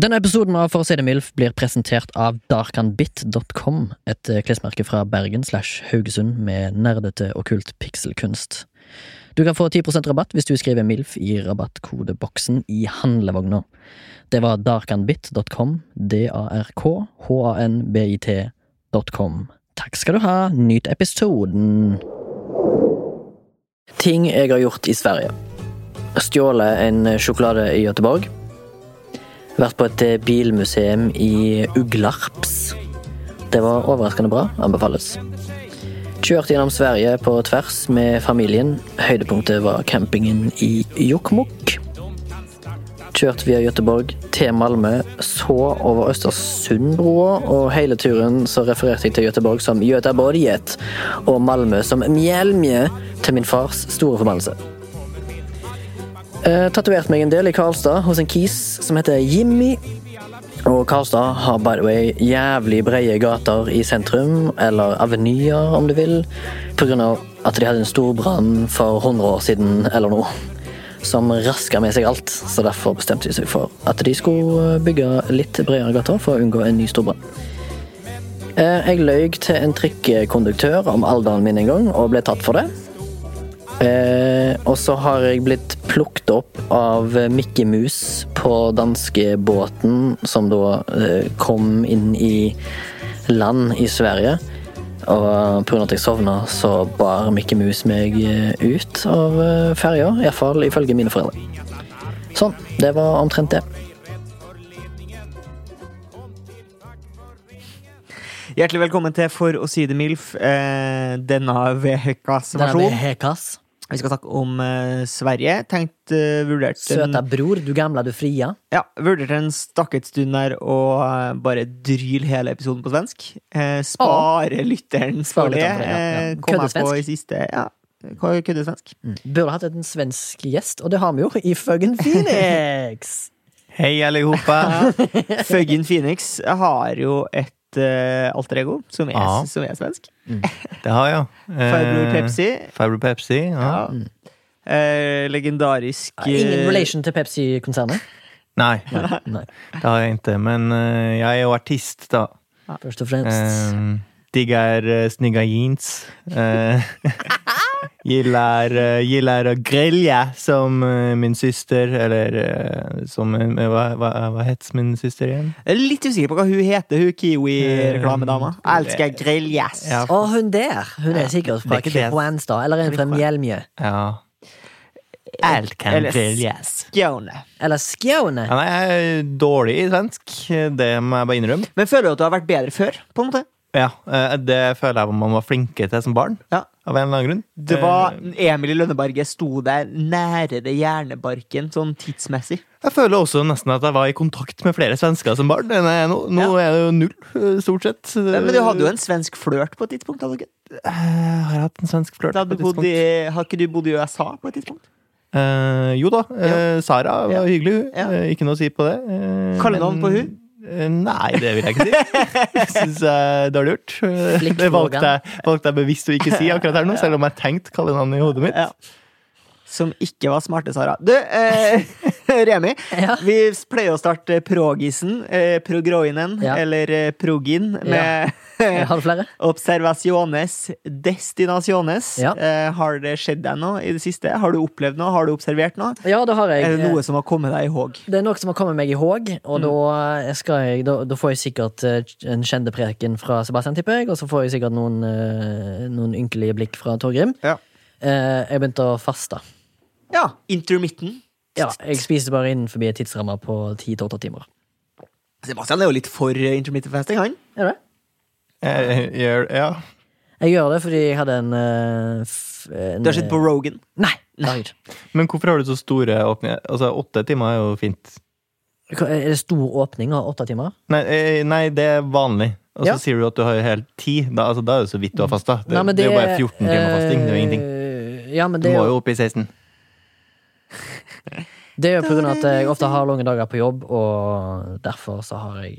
Denne episoden av For å si det mildt blir presentert av darkanbit.com, et eh, klesmerke fra Bergen slash Haugesund med nerdete okkult pikselkunst. Du kan få 10 rabatt hvis du skriver MILF i rabattkodeboksen i handlevogna. Det var darkanbit.com, d-a-r-k-h-a-n-b-i-t.com. Takk skal du ha, nyt episoden! Ting jeg har gjort i Sverige. Stjålet en sjokolade i Göteborg. Vært på et eh, bilmuseum i Uglarps. Det var overraskende bra. Anbefales. Kjørte gjennom Sverige på tvers med familien. Høydepunktet var campingen i Jokkmokk. Kjørte via Göteborg til Malmö, så over Østersundbroa, og hele turen så refererte jeg til Göteborg som Göteborget og Malmö som Mjelmje, til min fars store forbannelse. Eh, Tatovert meg en del i Karlstad hos en kis som heter Jimmy. Og Karlstad har by the way jævlig brede gater i sentrum, eller avenyer om du vil, på grunn av at de hadde en stor brann for 100 år siden eller noe, som raska med seg alt. Så derfor bestemte de seg for at de skulle bygge litt bredere gater for å unngå en ny stor brann. Eh, Jeg løy til en trikkekonduktør om alderen min en gang, og ble tatt for det. Eh, og så har jeg blitt plukket opp av Mikke Mus på danskebåten, som da eh, kom inn i land i Sverige. Og pga. at jeg sovna, så bar Mikke Mus meg eh, ut av eh, ferja. Iallfall ifølge mine foreldre. Sånn. Det var omtrent det. Hjertelig velkommen til For å si det MILF, eh, denne ukas versjon. Hekas. Vi skal snakke om eh, Sverige. Tenkt eh, vurdert en, Søta bror, du gamla, du fria. ja, vurdert en stakket stund der og eh, bare dryl hele episoden på svensk. Eh, spare lytteren Spare for det. lytteren for det, ja. Ja. eh, Kom jeg på Køddesvensk. i siste Ja, køddesvensk. Burde hatt en svensk gjest, og det har vi jo, i Føggen Phoenix. Hei, alle sammen. Fuggin Phoenix har jo et eh, alter ego som er, Ja. som er svensk. Det har jeg. Eh, Fireblue Pepsi. Fireblue Pepsi, ja. Ja. Eh, legendarisk Ingen eh, relation til Pepsi-konsernet? Nei, Nei, det har jeg ikke. Men eh, jeg er jo artist, da. først og fremst. Eh, digger eh, snygga jeans. Eh, gillar, eh, gillar å grille, som eh, min søster Eller eh, som eh, Hva, hva, hva het min søster igjen? Jeg er litt usikker på hva hun heter, hun Kiwi-reklamedama. Eh, Elsker grill, yes! Ja. Og hun der! Hun er sikkert fra Det er ikke det. Kristianstad, eller en fra Mjelmjø. Ja. Alt kan Eller grilles. Skåne. Eller Skåne! Ja, nei, jeg er dårlig i svensk. Det må jeg bare innrømme. Men føler du at du har vært bedre før? på en måte? Ja, eh, Det føler jeg man var flinke til som barn. Ja. Av en eller annen grunn. Det Eh, var Emil i Lønneberget sto der nærere hjernebarken sånn tidsmessig. Jeg føler også nesten at jeg var i kontakt med flere svensker som barn. enn jeg er Nå, nå er det jo null, eh, stort sett. Ja, Men du hadde jo en svensk flørt på et tidspunkt? Hadde du ikke? Eh, Har jeg hatt en svensk flørt Da på du et bodde tidspunkt? i, har ikke du bodd i USA på et tidspunkt? Eh, jo da. eh, Sara Ja. var hyggelig, hun. Ja. Eh, ikke noe å si på det. Eh, Kallenavn men- på hun? Eh, Nei, det vil jeg ikke si. Syns jeg dårlig gjort. Eh, Flikkflogan. Det valgte jeg, valgte jeg bevisst å ikke si akkurat her nå, selv om jeg tenkte kallenavnet i hodet mitt. Ja. Som ikke var smarte, Sara. Du, eh, Remi, Ja. vi pleier å starte progisen, eh, progroinen, Ja. eller eh, progin, med Eh, Har du flere? Observasjones destinaciones. Ja. Eh, har det skjedd deg noe i det siste? Har du opplevd noe? Har du observert noe? Ja, det har jeg. eh, Er det noe Mm. som har kommet deg i håg? Det er noe som har kommet meg i håg, og da, eh, skal jeg, da, da får jeg sikkert eh, en kjendepreken fra Sebastian, tipper jeg, og så får jeg sikkert noen, eh, noen ynkelige blikk fra Torgrim. Ja. Eh, Jeg begynte å faste. ja. Intermittent. Ja, jeg spiste bare innenfor en tidsramme på 10-8 timer. Sebastian er jo litt for eh, intermittent fasting, han. Er det? Eh, gjør- ja. Jeg gjør det fordi jeg hadde en, eh, f- en eh, Du har sett på Rogan. Nei! det har jeg ikke. Men hvorfor har du så store åpninger? Altså, åtte timer er jo fint. Hva- Er det stor åpning av åtte timer? Nei, eh, nei, det er vanlig. Og så Ja. sier du at du har helt ti. Da, altså, da er det så vidt du har fasta. Det, Nei, men det, er jo bare 14 timer fasting. Det er jo ingenting. eh, Ja, men Du det må er jo, jo opp i 16. det er jo på grunn av at jeg ofte har lange dager på jobb, og derfor så har jeg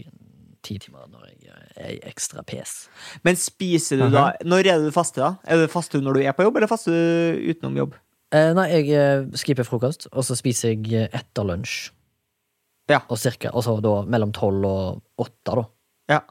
ti timer når jeg er i ekstra pes. Men spiser du da Når er det du faster, da? Er det faster du når du er på jobb, eller faster du utenom jobb? Eh, Nei, jeg eh, skipper frokost, og så spiser jeg eh, etter lunsj. Ja. Og cirka, og så da mellom tolv og åtte, da. Ja.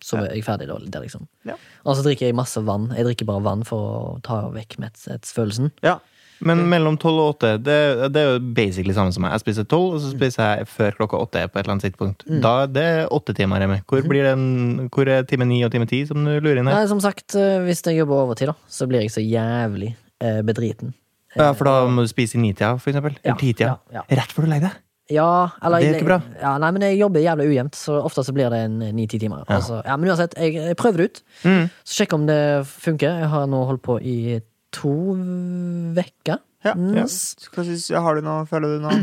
Så er jeg ferdig da, der, liksom. Ja. Og så drikker jeg masse vann. Jeg drikker bare vann for å ta vekk metthetsfølelsen. ja. Men mellom tolv og åtte, det, det er jo basically samme som meg. Jeg spiser tolv, Mm. og så spiser jeg før klokka åtte på et eller annet tidspunkt. Da det er åtte timer hjemme. Hvor, Mm. blir den, hvor er time ni og time ti, som du lurer inn her? Nei, som sagt, eh, hvis jeg jobber overtid, da, så blir jeg så jævlig eh, bedriten. Ja, for da må du spise i nitida, for eksempel. Ja, Eller titida. ja, Rett før du legger deg. Ja, eller Det er ikke bra. Ja, nei, men jeg jobber jævlig ujevnt, så ofte så blir det en ni-ti timer. Ja. Altså, ja, men uansett, jeg, jeg prøver det ut. Så sjekk om det funker. Jeg har nå holdt på i to uker. Ja, Mm. ja. Hva syns Har du noe? Føler du noe?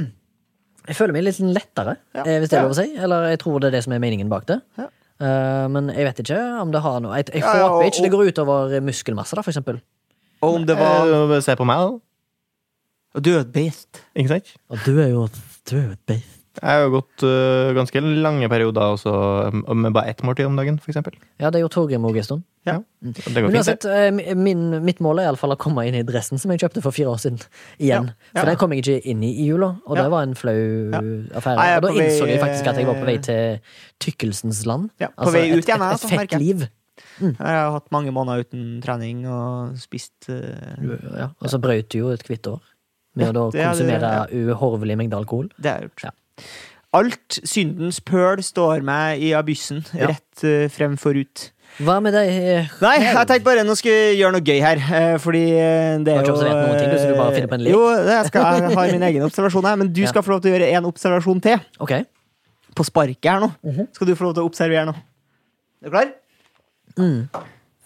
Jeg føler meg litt lettere, Ja. eh, hvis det er Ja. lov å si. Eller jeg tror det er det som er meningen bak det. Ja. Eh, men jeg vet ikke om det har noe Jeg, jeg Ja, ja, håper og- ikke det går utover muskelmasse, da, for eksempel. Og om det Eh. var Hva... Se på meg, da. Du er et beist. Ikke sant? Og du er jo, du er jo et beist. Jeg har jo gått øh, ganske lange perioder også øh, med bare ett måltid om dagen, for eksempel. Ja, det gjorde Torgrim òg en stund. Ja. Det går Men fint, det. uansett, eh, min, mitt mål er i alle fall å komme inn i dressen som jeg kjøpte for fire år siden. Igjen. Ja. For den kom jeg ikke inn i i jula, og Ja. det var en flau affære. Nei, jeg er og da på vei- innså jeg faktisk at jeg var på vei til tykkelsens land. Ja, på vei ut et, igjen, jeg, et, altså, et fett merker jeg. liv. Jeg har hatt mange måneder uten trening og spist eh, Ja, og så brøt du jo et kvitt år med å da det er det, konsumere uhorvelig mengde alkohol. Det har jeg gjort. Ja. Alt syndens pøl står meg i abyssen, Ja. rett eh, frem forut. Hva med deg? eh, Nei, jeg tenkte bare nå skal jeg gjøre noe gøy her, eh, fordi eh, det Har er ikke jo observert noen ting, du, så du bare finner på en lek? Jo, det skal, jeg har min egen observasjon her, men du Ja. skal få lov til å gjøre én observasjon til. Ok. På sparket her nå. Mhm. Skal du få lov til å observere nå. Er du klar? Mm.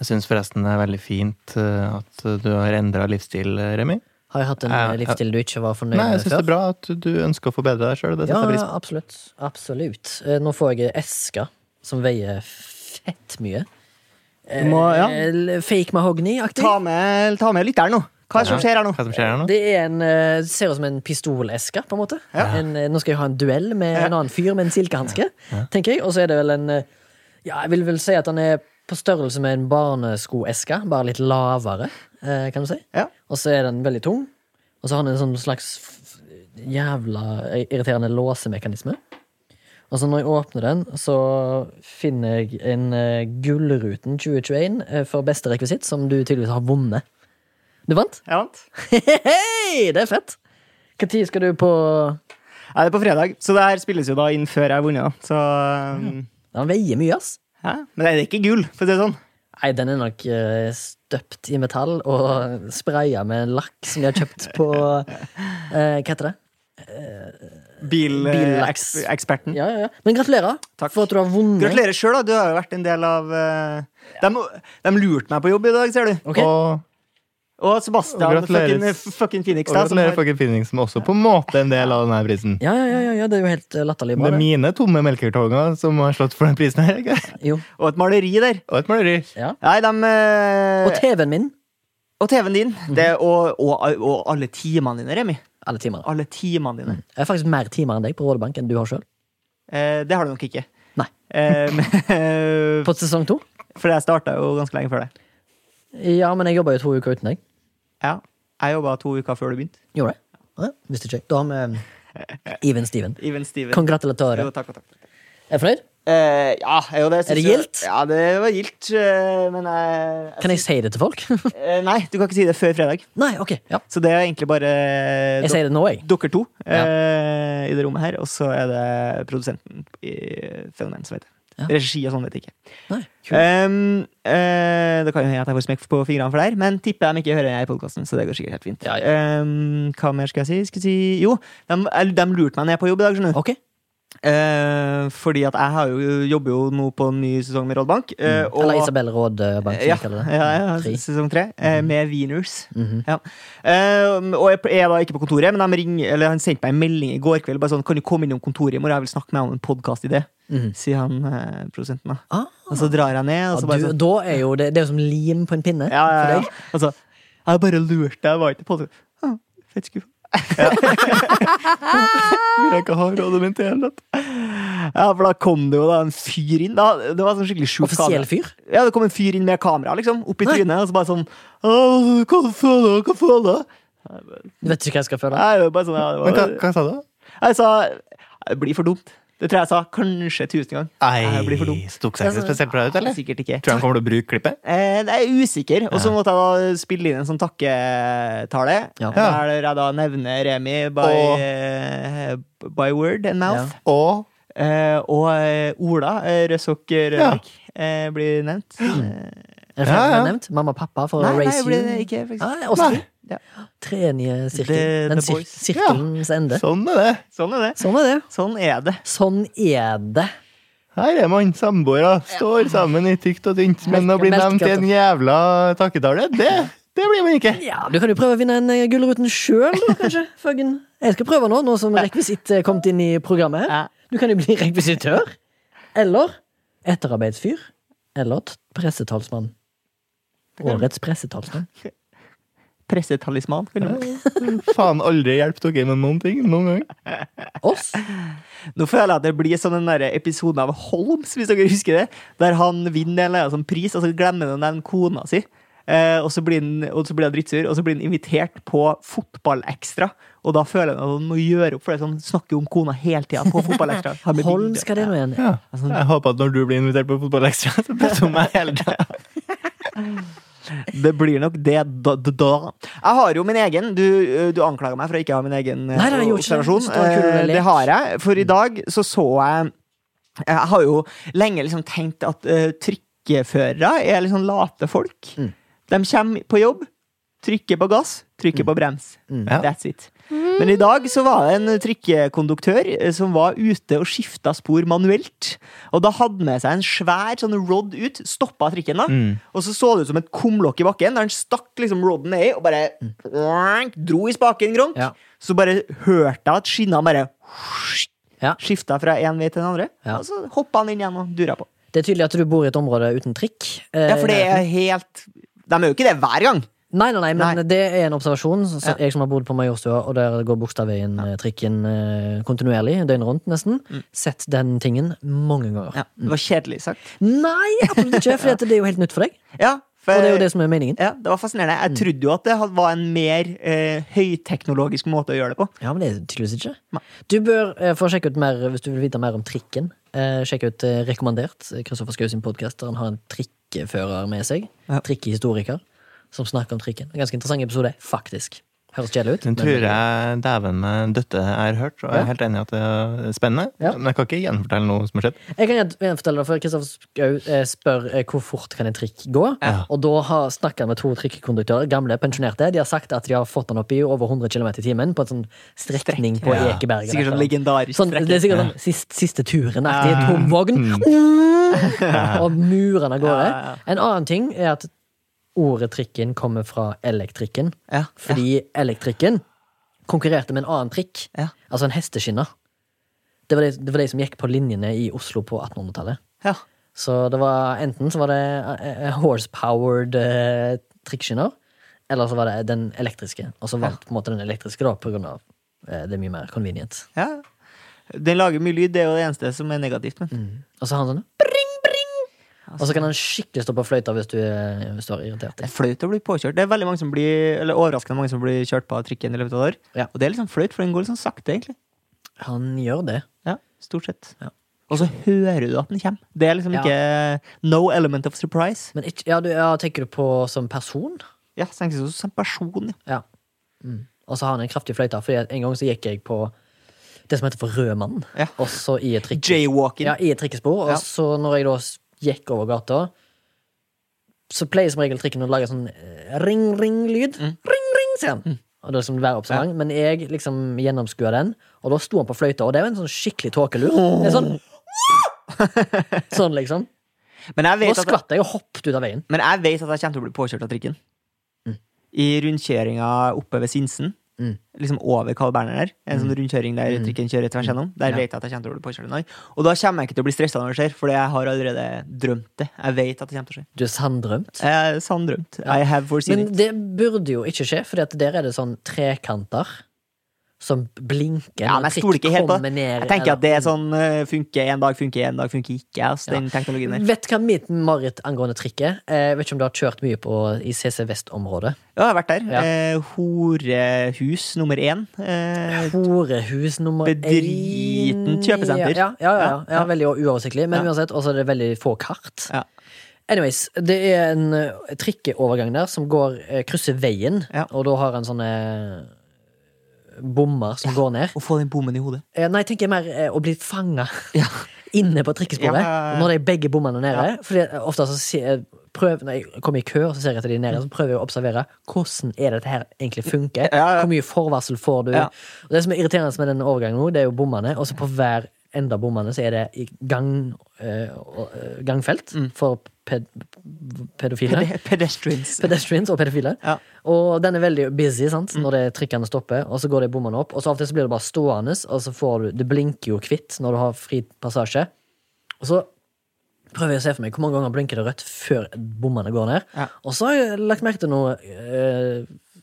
Jeg syns forresten det er veldig fint øh, at du har endra livsstil, øh, Remi. Har jeg hatt en eh, Ja, ja. livsstil du ikke var fornøyd Nei, jeg med syns det før? er bra at du ønsker å forbedre deg sjøl. Det Ja, setter jeg pris på. absolutt. Absolutt. Eh, Nå får jeg esker som veier fett mye. Du må, ja. Eh, Fake mahogny-aktig. Ta med, ta med lytteren nå. Hva er det som Ja. skjer her nå? Hva som skjer her nå? Det er en, eh, ser ut som en pistoleske, på en måte. En, eh, nå skal jeg ha en duell med en annen fyr med en silkehanske, tenker jeg. Og så er det vel en eh, Ja, jeg vil vel si at han er på størrelse med en barneskoeske, bare litt lavere, eh, kan du si. Ja. Og så er den veldig tung. Og så har den en sånn slags f- jævla irriterende låsemekanisme. Og så når jeg åpner den, så finner jeg en eh, Gullruten 2021 eh, for beste rekvisitt, som du tydeligvis har vunnet. Du vant? Jeg vant. Hei, det er fett! Når skal du på Ja, det er på fredag, så det her spilles jo da inn før jeg har vunnet. da. Så um, Den veier mye, ass. ja. Men det er ikke gull, for å si det sånn. Nei, den er nok eh, støpt i metall og spraya med en lakk som de har kjøpt på eh, Hva heter det? eh, Bilaks. Bileksperten. Ja, ja, ja. Men gratulerer Takk. for at du har vunnet. Gratulerer sjøl, da. Du har jo vært en del av eh, de, de lurte meg på jobb i dag, ser du. Ok. Og, Og Sebastian Og gratulerer- fucking, fucking Phoenix. og Da, som gratulerer, har- Folkets Finning, som også på en måte er en del av denne prisen. Ja, ja, ja, ja, ja, det er jo helt eh, latterlig Det bra. er Det. mine tomme melkekartonger som har slått for den prisen her. ikke? Jo. og et maleri der. Og et maleri. Ja. Nei, de eh, Og TV-en min. Og TV-en din. Det, og, og, og alle timene dine, Remi. Alle timer. Alle timene dine. Jeg har faktisk mer timer enn deg på Rådebank enn du har sjøl. Eh, det har du nok ikke. Nei. Eh, men- På sesong to. for jeg starta jo ganske lenge før deg. Ja, men jeg jobba jo to uker uten deg. Ja. Jeg jobba to uker før du begynte. Gjorde jeg? Ja, visste ikke. jeg. Da har vi eh, Even Steven. Even Steven. Kongratulatører. Jo, takk og takk. Er du fornøyd? Eh, ja, er jo det. Er det synes jeg- gildt? Ja, det var gildt. eh, Men jeg, Kan jeg si det til folk? Eh, Nei, du kan ikke si det før fredag. Nei, ok. Ja. Så det er egentlig bare eh, Jeg sier det nå, jeg. dere to eh, i det rommet her, og så er det produsenten i Fenomen som heter det. Ja. Regi og sånn vet jeg ikke. Nei, kult. Um, eh, det kan jo hende at jeg får smekk på fingrene for der, men tipper de ikke hører jeg i podkasten. Så det går sikkert helt fint. Ja, Um, hva mer skal jeg si? Skal jeg si jo, de, de lurte meg ned på jobb i dag, skjønner du. Ok. Eh, fordi at jeg har jo, jobber jo nå på en ny sesong med Rådbank. eh, og- Mm. Eller Isabel Råd eh, Bank, som ja, vi kaller det. ja, ja, Tre. Mhm. sesong tre, eh, med Wieners. ja. Eh, og jeg er da ikke på kontoret, men de ringer, eller han sendte meg en melding i går kveld. Bare sånn, kan du komme innom kontoret i morgen? Jeg vil snakke med deg om en podkastidé, sier han eh, produsenten. da Mhm. Ah, Og så drar jeg ned, og så ja, bare du, sånn da er jo det, det er jo som lim på en pinne ja, ja, for ja. deg. Og så Jeg bare lurte deg, jeg var ikke på det. Ah, fett skuffa. Vil jeg ikke ha rådet mitt i hele tatt. Ja, for da kom det jo da en fyr inn. Da, det var sånn skikkelig sjuk Offisiell kamera. fyr. Ja, det kom en fyr inn med kamera, liksom, opp i Nei. trynet, og så bare sånn «Åh, Hva føler du? Hva føler du? Du vet ikke hva jeg skal føle. Nei, det var bare sånn, ja, det Men hva, var, hva sa du? jeg sa Det blir for dumt. Det tror jeg jeg sa kanskje tusen gang. Det blir for Ei, dumt. tok seg ikke spesielt bra ut, eller? Sikkert ikke. Tror du han kommer til å bruke klippet? Eh, jeg er usikker. Og så måtte jeg da spille inn en sånn takketale. Ja. Der jeg da nevner Remi by, Og- eh, by word and mouth. Ja. Og Eh, og eh, Ola eh, Røsok Rødvik eh, blir nevnt. Er det flere som Ja, er ja. nevnt? Mamma og pappa for Nei, å nei, raise jeg ble det you? ikke, faktisk. Nei, også Nei. Ja. Tredje sirkel. The- Den the sir boys. sirkelens ende. sånn er det. Sånn er det. Sånn er det. Sånn er det. Sånn er det. Her er man samboere. Står sammen i tykt og tynt. Men å bli Melke- nevnt i en jævla takketale, det, det blir man ikke. Ja, Du kan jo prøve å vinne en eh, Gullruten sjøl, da, kanskje. Føggen. Jeg skal prøve nå, nå som rekvisitt er kommet inn i programmet. Ja. her. Du kan jo bli rekvisitør. Eller etterarbeidsfyr. Eller t- pressetalsmann. Årets pressetalsmann. Pressetalisman. kan du være. Faen, aldri hjelp dere med noen ting. Noen gang. Oss. Nå føler jeg at det blir sånn en der episode av Holmes, hvis dere husker det. Der han vinner en eller annen sånn pris, og så glemmer han å nevne kona si. Eh, og, så blir han, og så blir han drittsur, og så blir han invitert på Fotballekstra. Og da føler han at han må gjøre opp for det, så han snakker jo om kona hele tida på Fotballekstra. Han blir Holm bildet. skal det nå igjen. Ja. Altså, Jeg håper at når du blir invitert på fotballekstra, så passer du meg hele tida. Det blir nok det da, da, da. Jeg har jo min egen. Du, eh, du anklager meg for å ikke ha min egen eh, Nei, nei, jeg gjorde ikke det. observasjon. Så det var kul å Eh, leke. Det har jeg. For i dag så så jeg Jeg har jo lenge liksom tenkt at eh, trykkeførere er liksom late folk. Mm. De kommer på jobb, trykker på gass, trykker på brems. Ja. That's it. Men i dag så var det en trikkekonduktør eh, som var ute og skifta spor manuelt. Og da hadde med seg en svær sånn rod ut, stoppa trikken, da. Og så så det ut som et kumlokk i bakken, der han stakk liksom rodden ned i og bare wank, dro i spaken, gronk. Ja. Så bare hørte jeg at skinna bare Ja. skifta fra én vei til den andre. Ja. Og så hoppa han inn igjen og dura på. Det er tydelig at du bor i et område uten trikk. eh, Ja, for det er helt De er jo ikke det hver gang. Nei, nei, nei, men Nei. det er en observasjon. Så så Jeg som har bodd på Majorstua, og der går Bogstadveien, eh, trikken, eh, kontinuerlig, døgnet rundt nesten, Mm. sett den tingen mange ganger. Ja, det var kjedelig sagt. Nei, absolutt ikke, for det er jo helt nytt for deg. Ja, for- Og det er jo det som er meningen. Ja, det var fascinerende. Mm. Jeg trodde jo at det had- var en mer eh, høyteknologisk måte å gjøre det på. Ja, men det er tydeligvis ikke. Nei. Du bør, eh, for å sjekke ut mer, hvis du vil vite mer om trikken, eh, sjekke ut eh, Rekommandert, eh, Kristoffer Schou sin podkast, der han har en trikkefører med seg. Ja. Trikkehistoriker, som snakker om trikken. En ganske interessant episode, faktisk. Høres kjedelig ut. men- Den tror jeg dæven meg dette er hørt, og jeg er helt enig i at det er spennende. Ja. Men jeg kan ikke gjenfortelle noe som har skjedd. Jeg kan gjerne- gjerne fortelle det, for Kristoffer Schau eh, spør eh, hvor fort kan en trikk gå. Ja. Og da har snakket han med to trikkekonduktører, gamle pensjonerte. De har sagt at de har fått han opp i over 100 km i timen på en sånn strekning på Ja. Ekeberget. Sikkert sånn legendarisk Sånn, det er strekning. sikkert sånn sist, siste turen aktig tom vogn. Mm. Og murene av gårde. Ja, ja, ja. En annen ting er at ordet trikken kommer fra elektrikken. Ja, Fordi elektrikken konkurrerte med en annen trikk. Ja. Altså en hesteskinne. Det var, de, det var de som gikk på linjene i Oslo på 1800-tallet. Ja. Så det var enten så var det eh, eh, horse-powered eh, trikkskinner, eller så var det den elektriske. Og så vant på en måte den elektriske, da, på grunn av eh, det er mye mer convenient. ja. Den lager mye lyd, det er jo det eneste som er negativt. Men. Og så har han sånn bring, bring! Og så kan han skikkelig stå på fløyta hvis du, er- hvis du er irritert. Det er flaut å bli påkjørt. Det er veldig mange som blir, eller overraskende mange som blir kjørt på av trikken i løpet av et år. Ja. Og det er liksom flaut, for den går litt sånn sakte, egentlig. Han gjør det. Ja, stort sett. Ja. Og så hører du at den kommer. Det er liksom Ja. ikke no element of surprise. Men ikke, ja, du, ja, tenker du på som person? Ja, så tenker jeg sånn som person, Ja. ja. Mm. Og så har han en kraftig fløyte, fordi at en gang så gikk jeg på det som heter for Rødmannen. Ja. Også i et trikke- Jaywalking. Ja, i et trikkespor. Ja. Og så når jeg da s- gikk over gata, så pleier som regel trikken å lage sånn eh, ring-ring-lyd. Mm. Ring-ring, sier han. Og det er liksom væroppsang. Men jeg liksom gjennomskua den, og da sto han på fløyta, og det er jo en sånn skikkelig tåkelur. Det er sånn Sånn, liksom. Men jeg Da vet at skvatt jeg og hoppet ut av veien. Men jeg vet at jeg kommer til å bli påkjørt av trikken. I rundkjøringa oppe ved Sinsen, Mm. liksom over Carl Berner der, en sånn rundkjøring der trikken kjører tvers gjennom, der Ja. vet jeg at jeg kommer til å bli påkjørt. av noen. Og da kommer jeg ikke til å bli stressa når det skjer, for jeg har allerede drømt det. Jeg vet at det kommer til å skje. Du er sanndrømt. Jeg er sanndrømt. I have foreseen Men it. det burde jo ikke skje, for der er det sånn trekanter som blinker Ja, når men jeg prikk stoler ikke helt på kommer det. ned, Jeg tenker eller- at det er sånn eh, funker en dag, funker en dag, funker ikke. Altså, den teknologien der. Vet du hva mitt mareritt angående trikket? Jeg vet ikke om du har kjørt mye på i CC Vest-området. Ja, jeg har vært der. Ja. Eh, horehus nummer én. Eh, Horehus nummer én Bedriten kjøpesenter. Ja, ja, ja, ja, Ja, ja. ja. Veldig uoversiktlig, men Ja. uansett, også er det veldig få kart. Ja. Anyways, det er en eh, trikkeovergang der som går, eh, krysser veien, Ja. og da har en sånne bommer som går ned. å få den bommen i hodet. Eh, Nei, tenker jeg mer eh, å bli fanga inne på Ja, trikkesporet. ja, ja. Når de er begge bommene nede. Fordi eh, ofte så ser jeg- prøv, Når jeg kommer i kø og så ser jeg etter de nede, så prøver jeg å observere hvordan er dette her egentlig funker. Ja, ja. Hvor mye forvarsel får du? Ja. Og det som er irriterende med den overgangen, nå, det er jo bommene. Og så på hver ende av bommene så er det i gang, eh, og, eh, gangfelt Mm. for ped pedofile. Pede- Pedestrians. Pedestrians og pedofile. Ja. Og den er veldig busy sant? når det trikkene stopper, og så går de bommene opp. Og så av og til så blir det bare stående, og så får du Det blinker jo hvitt når du har fri passasje. Og så prøver jeg å se for meg hvor mange ganger blinker det rødt før bommene går ned. Ja. Og så har jeg lagt merke til noe eh,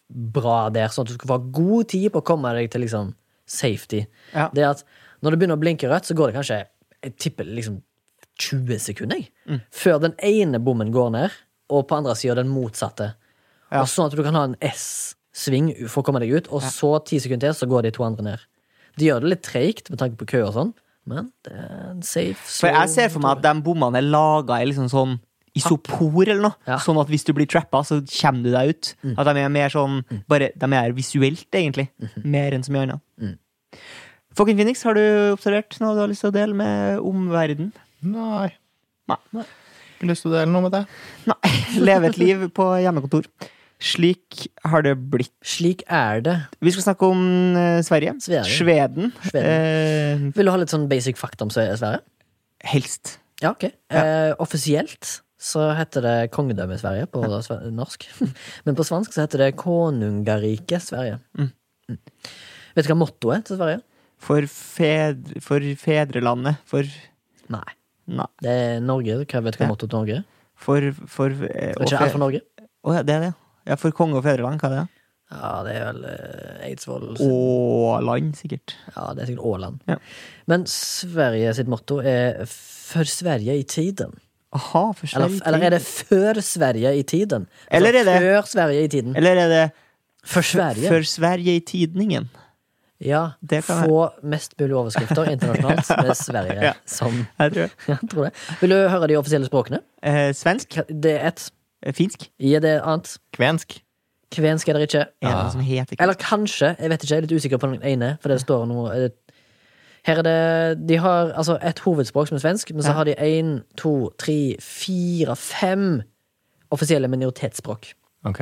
bra der, sånn at du skal få ha god tid på å komme deg til liksom safety. Ja. Det er at når det begynner å blinke rødt, så går det kanskje jeg tipper liksom 20 sekunder jeg, Mm. før den ene bommen går ned, og på andre sida den motsatte. Ja. Og sånn at du kan ha en S-sving for å komme deg ut, og så ti sekunder til, så går de to andre ned. De gjør det litt treigt med tanke på kø og sånn, men det er en safe For jeg ser zone. for meg at de bommene er laga i liksom sånn isopor eller noe. Ja. Mm. Sånn at hvis du blir trappa, så kommer du deg ut. At de er mer sånn bare, De er visuelt, egentlig. Mm-hmm. Mer enn så mye annet. Mm. Fucking Phoenix, har du observert noe du har lyst til å dele med omverdenen? Nei. Nei. Lyst til å dele noe med deg? Nei. Leve et liv på hjemmekontor. Slik har det blitt. Slik er det. Vi skal snakke om eh, Sverige. Sverige. Sveden. Eh, Vil du ha litt sånn basic fakta om Sve- Sverige? helst. Ja, ok. Eh, offisielt så heter det Kongedømmet Sverige på sve- norsk. Men på svansk så heter det Konungariket Sverige. Mm. Vet du hva mottoet til Sverige? For, fed, for fedrelandet. For Nei. Nei. Det er Norge. Hva vet du hva Ja. mottoet til Norge er? For, for eh, Vet ikke og fe- alt for Norge? Å ja, det er det. Ja, For konge og fedreland, hva er det? Ja, det er vel eh, Eidsvoll sin- Åland, sikkert. Ja, det er sikkert Åland. Ja. Men Sverige sitt motto er For Sverige i tiden. Aha, for Eller, Sverige. eller er det Før Sverige i tiden? Altså, Eller er det- Før Sverige i tiden. Eller er det For Sverige. For Sverige i tidningen? Ja, Det kan få mest mulig overskrifter internasjonalt med Sverige Ja. som Jeg tror det. ja, tror det. Vil du høre de offisielle språkene? Eh, svensk? K- Det er ett. Eh, Finsk? Ja, det er annet. Kvensk. Kvensk er det ikke. Er det noe som heter Ah. Eller kanskje, jeg vet ikke, jeg er litt usikker på den ene, for det står noe er det- Her er det De har altså et hovedspråk som er svensk, men så Ja. har de én, to, tre, fire, fem offisielle minoritetsspråk. Ok.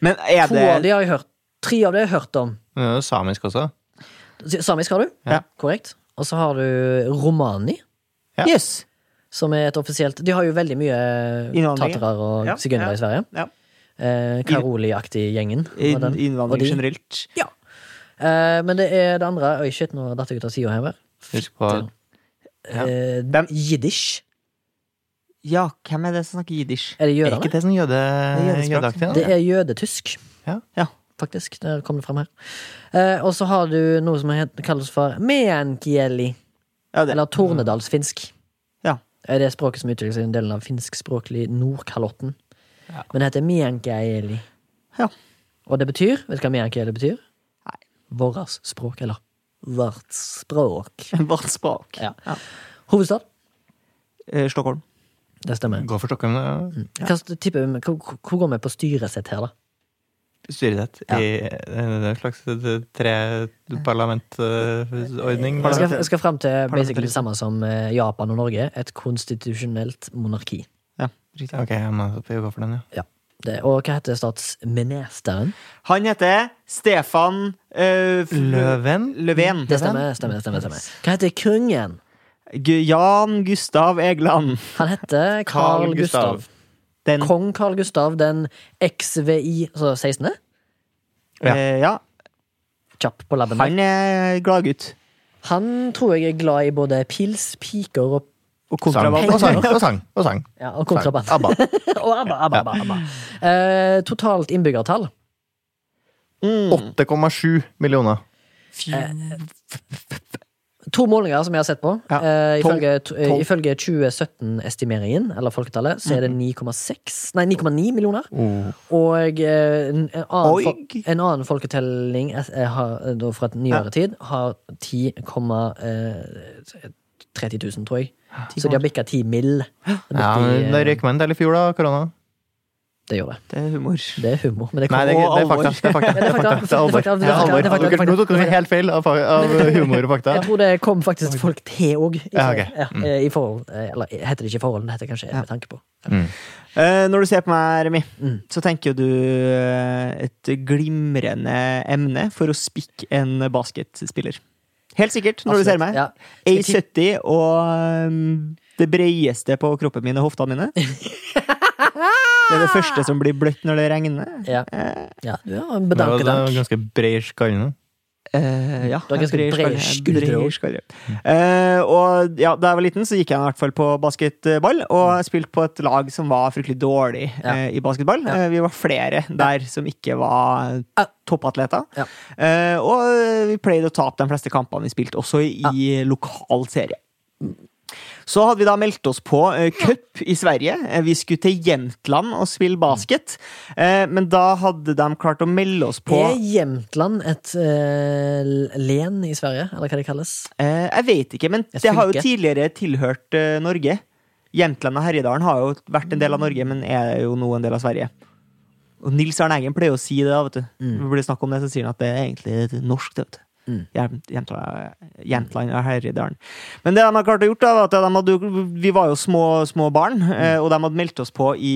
Men er To av de det har jeg hørt. Tre av de har jeg hørt om. Men det er jo samisk også. Samisk har du. Ja. Korrekt. Og så har du romani. Ja. Jøss! Som er et offisielt De har jo veldig mye Innvandring, tatere og ja, sigøynere ja. i Sverige. Ja. Eh, Karoli-aktig gjengen. In- var den. Og Innvandring de. generelt. Ja. Eh, men det er det andre Oi, shit, nå datt jeg ut av sida her. Husk på Ja. Eh, Dem- Jiddisch. Ja, hvem er det som snakker jiddisch? Er det Er ikke jødene? det sånn jøde, Det er jødespråk. jødeaktig? Det da? er jødetysk, Ja. faktisk. Der kom det fram her. Eh, og så har du noe som het- kalles for meänkieli, ja det. eller tornedalsfinsk. Ja. Eh, Det er språket som utvikler seg i den delen av finskspråklig Nordkalotten. Ja. Men det heter meänkieli. Ja. Og det betyr Vet du hva meänkieli betyr? Nei. Våras språk, eller vårt språk. Vårt språk. Ja. Ja. Hovedstad. Eh, Stockholm. Det stemmer. Gå for Stockholm. da. Hva, tipper, vi- hvor, hvor går vi på styresett her, da? Styresett. Ja. I det er en slags treparlamentordning. Jeg skal, jeg skal fram til basically det Parlamentarisme. samme som eh, Japan og Norge. Et konstitusjonelt monarki. Ja, riktig. Ok, jeg må gå for den, ja. Det, og hva heter statsministeren? Han heter Stefan eh, F- Løven? Löfven. Det stemmer, stemmer, stemmer, stemmer. Hva heter kongen? Gu- Jan Gustav Egeland. Han heter Carl Carl Gustav. Gustav. Den Kong Carl Gustav den XVI altså 16. Ja. Eh, ja. Kjapp på labben. der. Han er gladgutt. Han tror jeg er glad i både pils, piker og, Og Sang. kontrabass. Og sang, og sang. Og sang. ja, og sang. kontraband. ABBA. og abba, abba, abba, abba. Eh, totalt innbyggertall. Mm. Eh, 8,7 millioner. Fy- To målinger som jeg har sett på. Ja. Eh, Tolv. ifølge t- eh, Tolv. ifølge 2017-estimeringen, eller folketallet, så er Mhm. det 9,6 Nei, 9,9 millioner. Oh. Og eh, en, en, annen, Oi. fol- en annen folketelling eh, har, eh, da fra et nyere tid har 10,30 000, tror jeg. Så de har bikka 10 mill. Ja, men det røyk meg en del i fjor, da. Korona. eh, Det gjør det. Det er humor. Det er humor. Men det Nei, kommer det, er- det er fakta. Det er fakta. Ja, det er fakta. Det er alvor. Det er fakta. Det er alvor. Det er fakta. Det er fakta. Nå tok dere helt feil av, fa- av humor og fakta. Jeg tror det kom faktisk folk til òg. Ja, ok. Mm. I forhold eh, Eller heter det ikke forhold, det heter kanskje med tanke på. Eh, når du ser på meg, Remi, Mm. så tenker du eh, et glimrende emne for å spikke en basketspiller. Helt sikkert, når du ser meg. Ja. A70 og um, det breieste på kroppen min er hoftene mine. Det er det første som blir bløtt når det regner. Ja. Eh, ja. Du har en Det var- bedanke det var dank. ganske bred skalle nå. eh, ja, Du har ganske jeg breier brede skallen. skuldre Jeg breier også. skallen. Eh, og ja, da jeg var liten, så gikk jeg i hvert fall på basketball, og spilte på et lag som var fryktelig dårlig Ja. eh, i basketball. Eh, vi var flere der som ikke var Ja. toppatleter. Ja. Eh, og vi pleide å tape de fleste kampene vi spilte, også i lokal serie. Så hadde vi da meldt oss på eh, cup i Sverige. Eh, vi skulle til Jämtland og spille basket. Eh, men da hadde de klart å melde oss på Er Jämtland et eh, len i Sverige, eller hva det kalles? Eh, Jeg vet ikke, men Et det har jo fylke. tidligere tilhørt eh, Norge. Jämtland og Herjedalen har jo vært en del av Norge, men er jo nå en del av Sverige. Og Nils Arne Eggen pleier å si det, da, vet du. Når det blir snakk om det, så sier han at det er egentlig norsk, det, vet du. Mm. Jämt- Jämtland Jämtland og Herjedalen. Men det de har klart å gjort, da, var at de hadde, jo- vi var jo små, små barn, eh, og de hadde meldt oss på i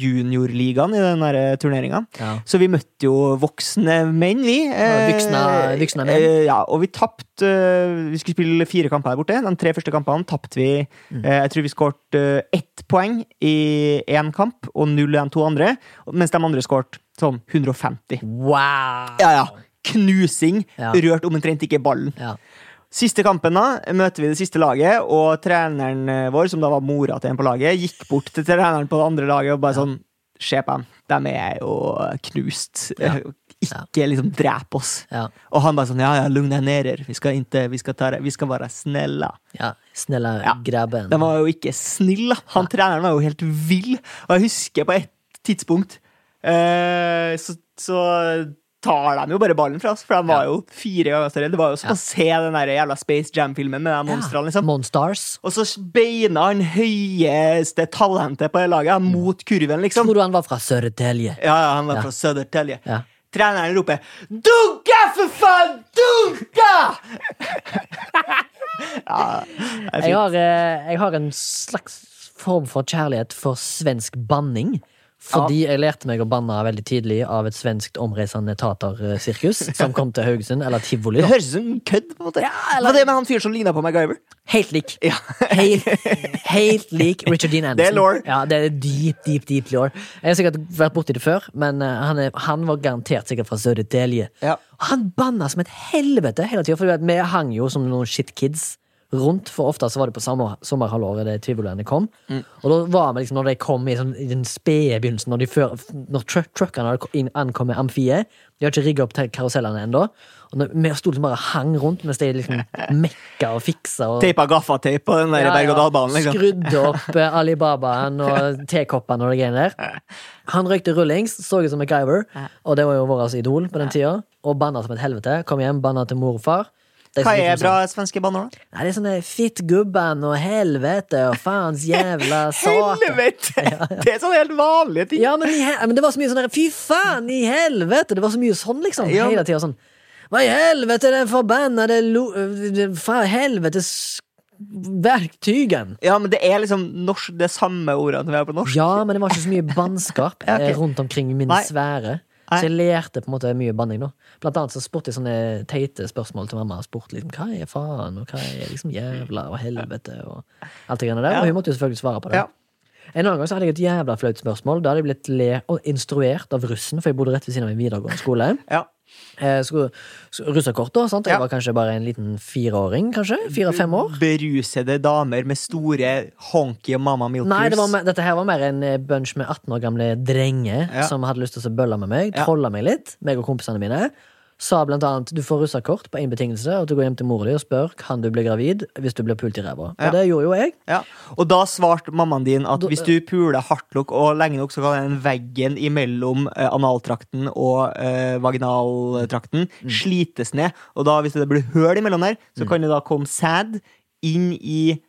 juniorligaen i den eh, turneringa. Ja. Så vi møtte jo voksne menn, vi. Ja, voksne- voksne menn. Eh, ja, og vi tapte eh, Vi skulle spille fire kamper her borte. De tre første kampene tapte vi. Mm. Eh, jeg tror vi skåret eh, ett poeng i én kamp og null i de to andre, mens de andre skåret sånn 150. Wow! Ja, ja. Knusing. Ja. Rørt omtrent ikke ballen. Ja. Siste kampen da, møter vi det siste laget, og treneren eh, vår, som da var mora til en på laget, gikk bort til treneren på det andre laget og bare sånn Se på dem, de er jo knust. Ikke liksom drep oss. Ja. Og han bare sånn Ja, ja, lugn deg ned her. Vi skal ikke Vi skal, ta det. Vi skal være snille. ja. Snille Ja. grabben. De var jo ikke snille. Han treneren var jo helt vill. Og jeg husker på et tidspunkt eh, så, så tar de jo bare ballen fra oss, for de var jo fire ganger større. Det var jo som å se den der jævla Space Jam-filmen med de monstrene, liksom. Monstars. Og så beina han høyeste talentet på det laget ja, mot kurven, liksom. Tror du han var fra Sørtelje? Ja, ja, han Mm. var Ja. fra Södertälje. Ja. Treneren roper 'Dunka, for faen! Dunka!' ja, det er Jeg fint. har, eh, jeg har en slags form for kjærlighet for svensk banning. Fordi jeg lærte meg å banne veldig tidlig av et svenskt omreisende tatersirkus som kom til Haugesund, eller Tivoli. Det da. høres ut som en kødd. på en måte. Hva er det med han fyren som ligna på MacGyver? Helt lik. Helt, helt lik Richard Dean Anderson. Det er lore. Ja, det er deep, deep, deep lore. Jeg har sikkert vært borti det før, men eh, han, er, han var garantert sikkert fra Södertälje. Ja. Han banna som et helvete hele tida, for du vet, vi hang jo som noen shitkids rundt, for ofte så var det på sommer, sommerhalvåret det tivoliene kom. Mm. Og da var vi liksom, når de kom i, sånn, i den spede begynnelsen, når, de før, når truck, truckene hadde ko- inn- ankom med amfiet De har ikke rigga opp te- karusellene ennå. Og når, vi sto liksom bare og hang rundt mens de liksom mekka og fiksa. Og, Teipa gaffateip på den der berg-og-dal-banen. liksom. Skrudde opp eh, Alibabaen og tekoppene og det greiene der. Han røykte rullings, så ut som MacGyver, og det var jo vårt idol på den tida. Og banna som et helvete. Kom hjem, banna til mor og far. De som Hva liksom er sa, bra svenske banneord, da? Nei, det er sånne fittgubben og helvete og faens jævla satan. Helvete! Det er sånne helt vanlige ting. Ja, men, i hel men det var så mye sånn der Fy faen, i helvete! Det var så mye sånn, liksom. Ja, men- Hele tida sånn. Hva i helvete, den forbannede lo... Fra helvetes verktygen! Ja, men det er liksom norsk, det er samme ordene vi har på norsk. Ja, men det var ikke så mye bannskap Ja, ok. eh, rundt omkring min Nei. sfære. Nei. Så jeg lærte på en måte mye banning. da Blant annet så spurte jeg sånne teite spørsmål til mamma. Spurt liksom, Hva er faen, og hva er liksom jævla og helvete og alt det greiene der. Ja. Og hun måtte jo selvfølgelig svare på det. Ja. En annen gang så hadde jeg et jævla flaut spørsmål. Da hadde jeg blitt le og instruert av russen, for jeg bodde rett ved siden av en videregående skole. Ja. Eh, sko- sko- Russekort, da. sant? Jeg Ja. var kanskje bare en liten fireåring, kanskje? Fire-fem år. Berusede damer med store honky og mamma milk Nei, det var, juice. mer- dette her var mer en eh, bunch med 18 år gamle drenger Ja. som hadde lyst til å bølle med meg. Ja. Trolle meg litt, meg og kompisene mine. sa blant annet du får russekort på én betingelse, og at du går hjem til mora di og spør kan du bli gravid hvis du blir pult i ræva. Ja. Og det gjorde jo jeg. Ja. Og da svarte mammaen din at Da- hvis du puler hardt nok og lenge nok, så kan den veggen imellom eh, analtrakten og eh, vaginaltrakten Mm. slites ned. Og da, hvis det blir høl imellom der, så kan det da komme sæd inn i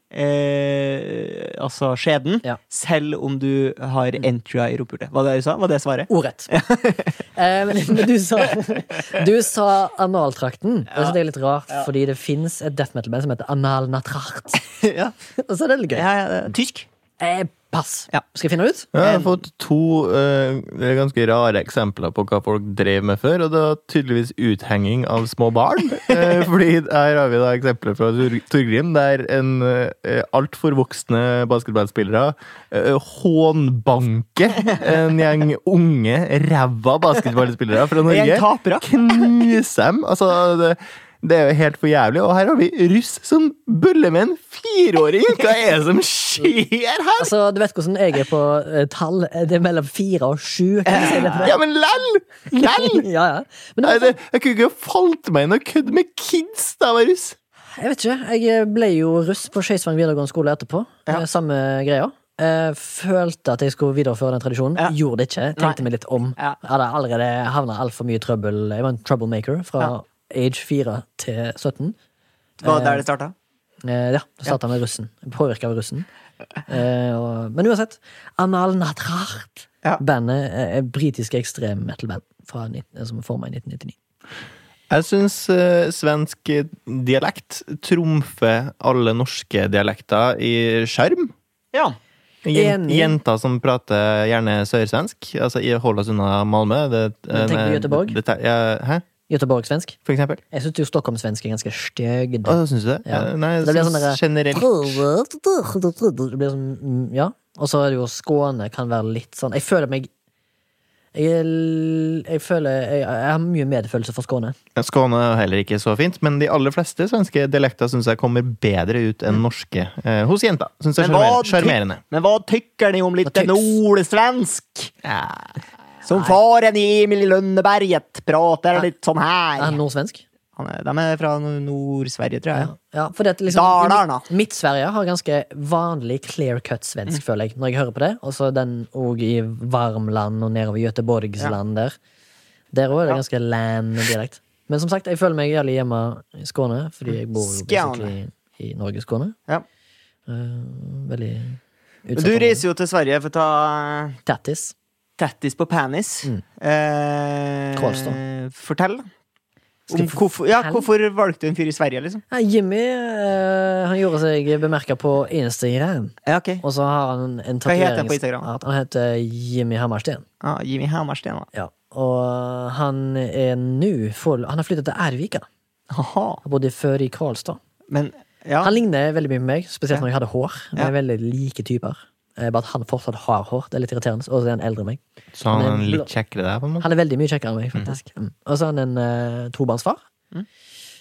eh, altså skjeden, Ja. Mm. selv om du har entria i rumpehulet. Var det det du sa? Var det svaret? Ordrett. Eh, men men du sa, du sa analtrakten. Og så det er litt rart, fordi det fins et death metal-band som heter Analnatrart. ja. Og så er det litt gøy. Ja, ja, Tysk? Eh, pass. Ja. Skal jeg finne det ut? Ja, jeg har fått to eh, ganske rare eksempler på hva folk drev med før, og det var tydeligvis uthenging av små barn. Eh, fordi her har vi da eksempler fra Tor Torgrim, der en eh, altfor voksne basketballspillere eh, hånbanker en gjeng unge, ræva basketballspillere fra En Norge. tapere. Knuse dem! Altså, det, det er jo helt for jævlig. Og her har vi russ som buller med en fireåring! Hva er det som skjer her?! Altså, Du vet hvordan jeg er på eh, tall. Det er mellom fire og sju. Kan du si det til Ja, men lell! Lell! meg? Ja, ja. Men det Nei, var det, jeg kunne ikke falt meg inn og kødde med kids da jeg var russ. Jeg vet ikke. Jeg eh, ble jo russ på Skeisvang videregående skole etterpå. Ja. Eh, Samme greia. Eh, Følte at jeg skulle videreføre den tradisjonen. Ja. Gjorde det ikke. Tenkte meg litt om. Ja. Jeg hadde allerede havna altfor mye i trøbbel. Jeg var en troublemaker fra Ja. age 4 til 17. Var det der det starta? Eh, ja, da starta med russen. Påvirka av russen. Eh, og, men uansett. Anal Natrart. Ja. Bandet eh, er britiske ekstrem metal-band fra nitt- eh, som er forma i 1999. Jeg syns eh, svensk eh, dialekt trumfer alle norske dialekter i skjerm. Ja. Jen- Enig. Jenter som prater gjerne sørsvensk. Altså, jeg holder oss unna Malmö. Det, eh, Men tenker du Göteborg? Det, det, ja, hæ? Göteborg-svensk. For eksempel? Jeg syns jo stockholm-svensk er ganske stygg. Å, syns du det? Ja. Ja, Nei, Det blir syns sånn derre- generelt. Det blir sånn, mm, ja. Og så er det jo Skåne kan være litt sånn Jeg føler meg Jeg, er l- jeg føler jeg, jeg har mye medfølelse for Skåne. Skåne er heller ikke så fint, men de aller fleste svenske dialekter syns jeg kommer bedre ut Mm. enn norske eh, hos jenter. Syns jeg Men hva er sjarmerende. Men hva tykker ni om Vad lite tycks? nordsvensk? Ja. Som faren i Emil i Lønneberget prater litt sånn her. Er han nordsvensk? Han er, de er fra no- Nord-Sverige, tror jeg. Ja, for det, er liksom, Dalarna. i Midt- Midt-Sverige har ganske vanlig clear cut svensk, føler jeg, når jeg hører på det. Og så den òg i Varmland og nedover Göteborgsland der. Der òg er det ganske land-dialekt. Men som sagt, jeg føler meg jævlig hjemme i Skåne, fordi jeg bor jo Skåne. basically i Norge, Skåne. Ja. Eh, veldig Men utsatt. Du område. reiser jo til Sverige for å ta eh, Tattis. tattis på penis. Eh, Karlstad. Fortell. Skal Om jeg hvorfor, ja, fortelle? hvorfor valgte du en fyr i Sverige, liksom? Nei, Jimmy eh, han gjorde seg bemerka på Instagram. Ja, ok. Og så har han en Hva heter han tatuerings- på Instagram? At han heter Jimmy Hammersten. Ah, Jimmy Hammersten, da. Ja. Og eh, han er nå full Han har flytta til Ervika. Aha. Han bodde før i Karlstad. Men ja. Han ligner veldig mye på meg, spesielt Ja. når jeg hadde hår. Vi er veldig like typer. Eh, Bare at han fortsatt har hår. Det er litt irriterende. Og så er han eldre enn meg. Så han Men er blå- litt kjekkere der, på en måte. Han er veldig mye kjekkere enn meg, faktisk. Mhm. Mm. Og så er han en eh, tobarnsfar.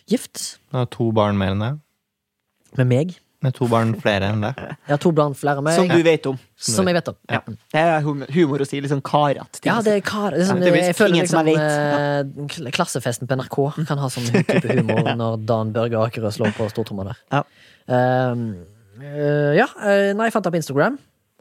Gift. Han har to barn mer enn deg. Med meg. Med to barn flere enn deg. Jeg har to barn flere enn meg. Som du vet om. Som jeg vet om. Ja. Det er hum- humor å si litt sånn karete ting. Ja, det er kar, det er sånn, Ja, det er jeg visst føler ingen som Mm. liksom jeg eh, kl- Klassefesten på NRK kan ha sånn type humor når Dan Børge Akerø slår på stortromma der. Ja. Ehm, eh, ja, eh, nei, jeg fant ham på Instagram,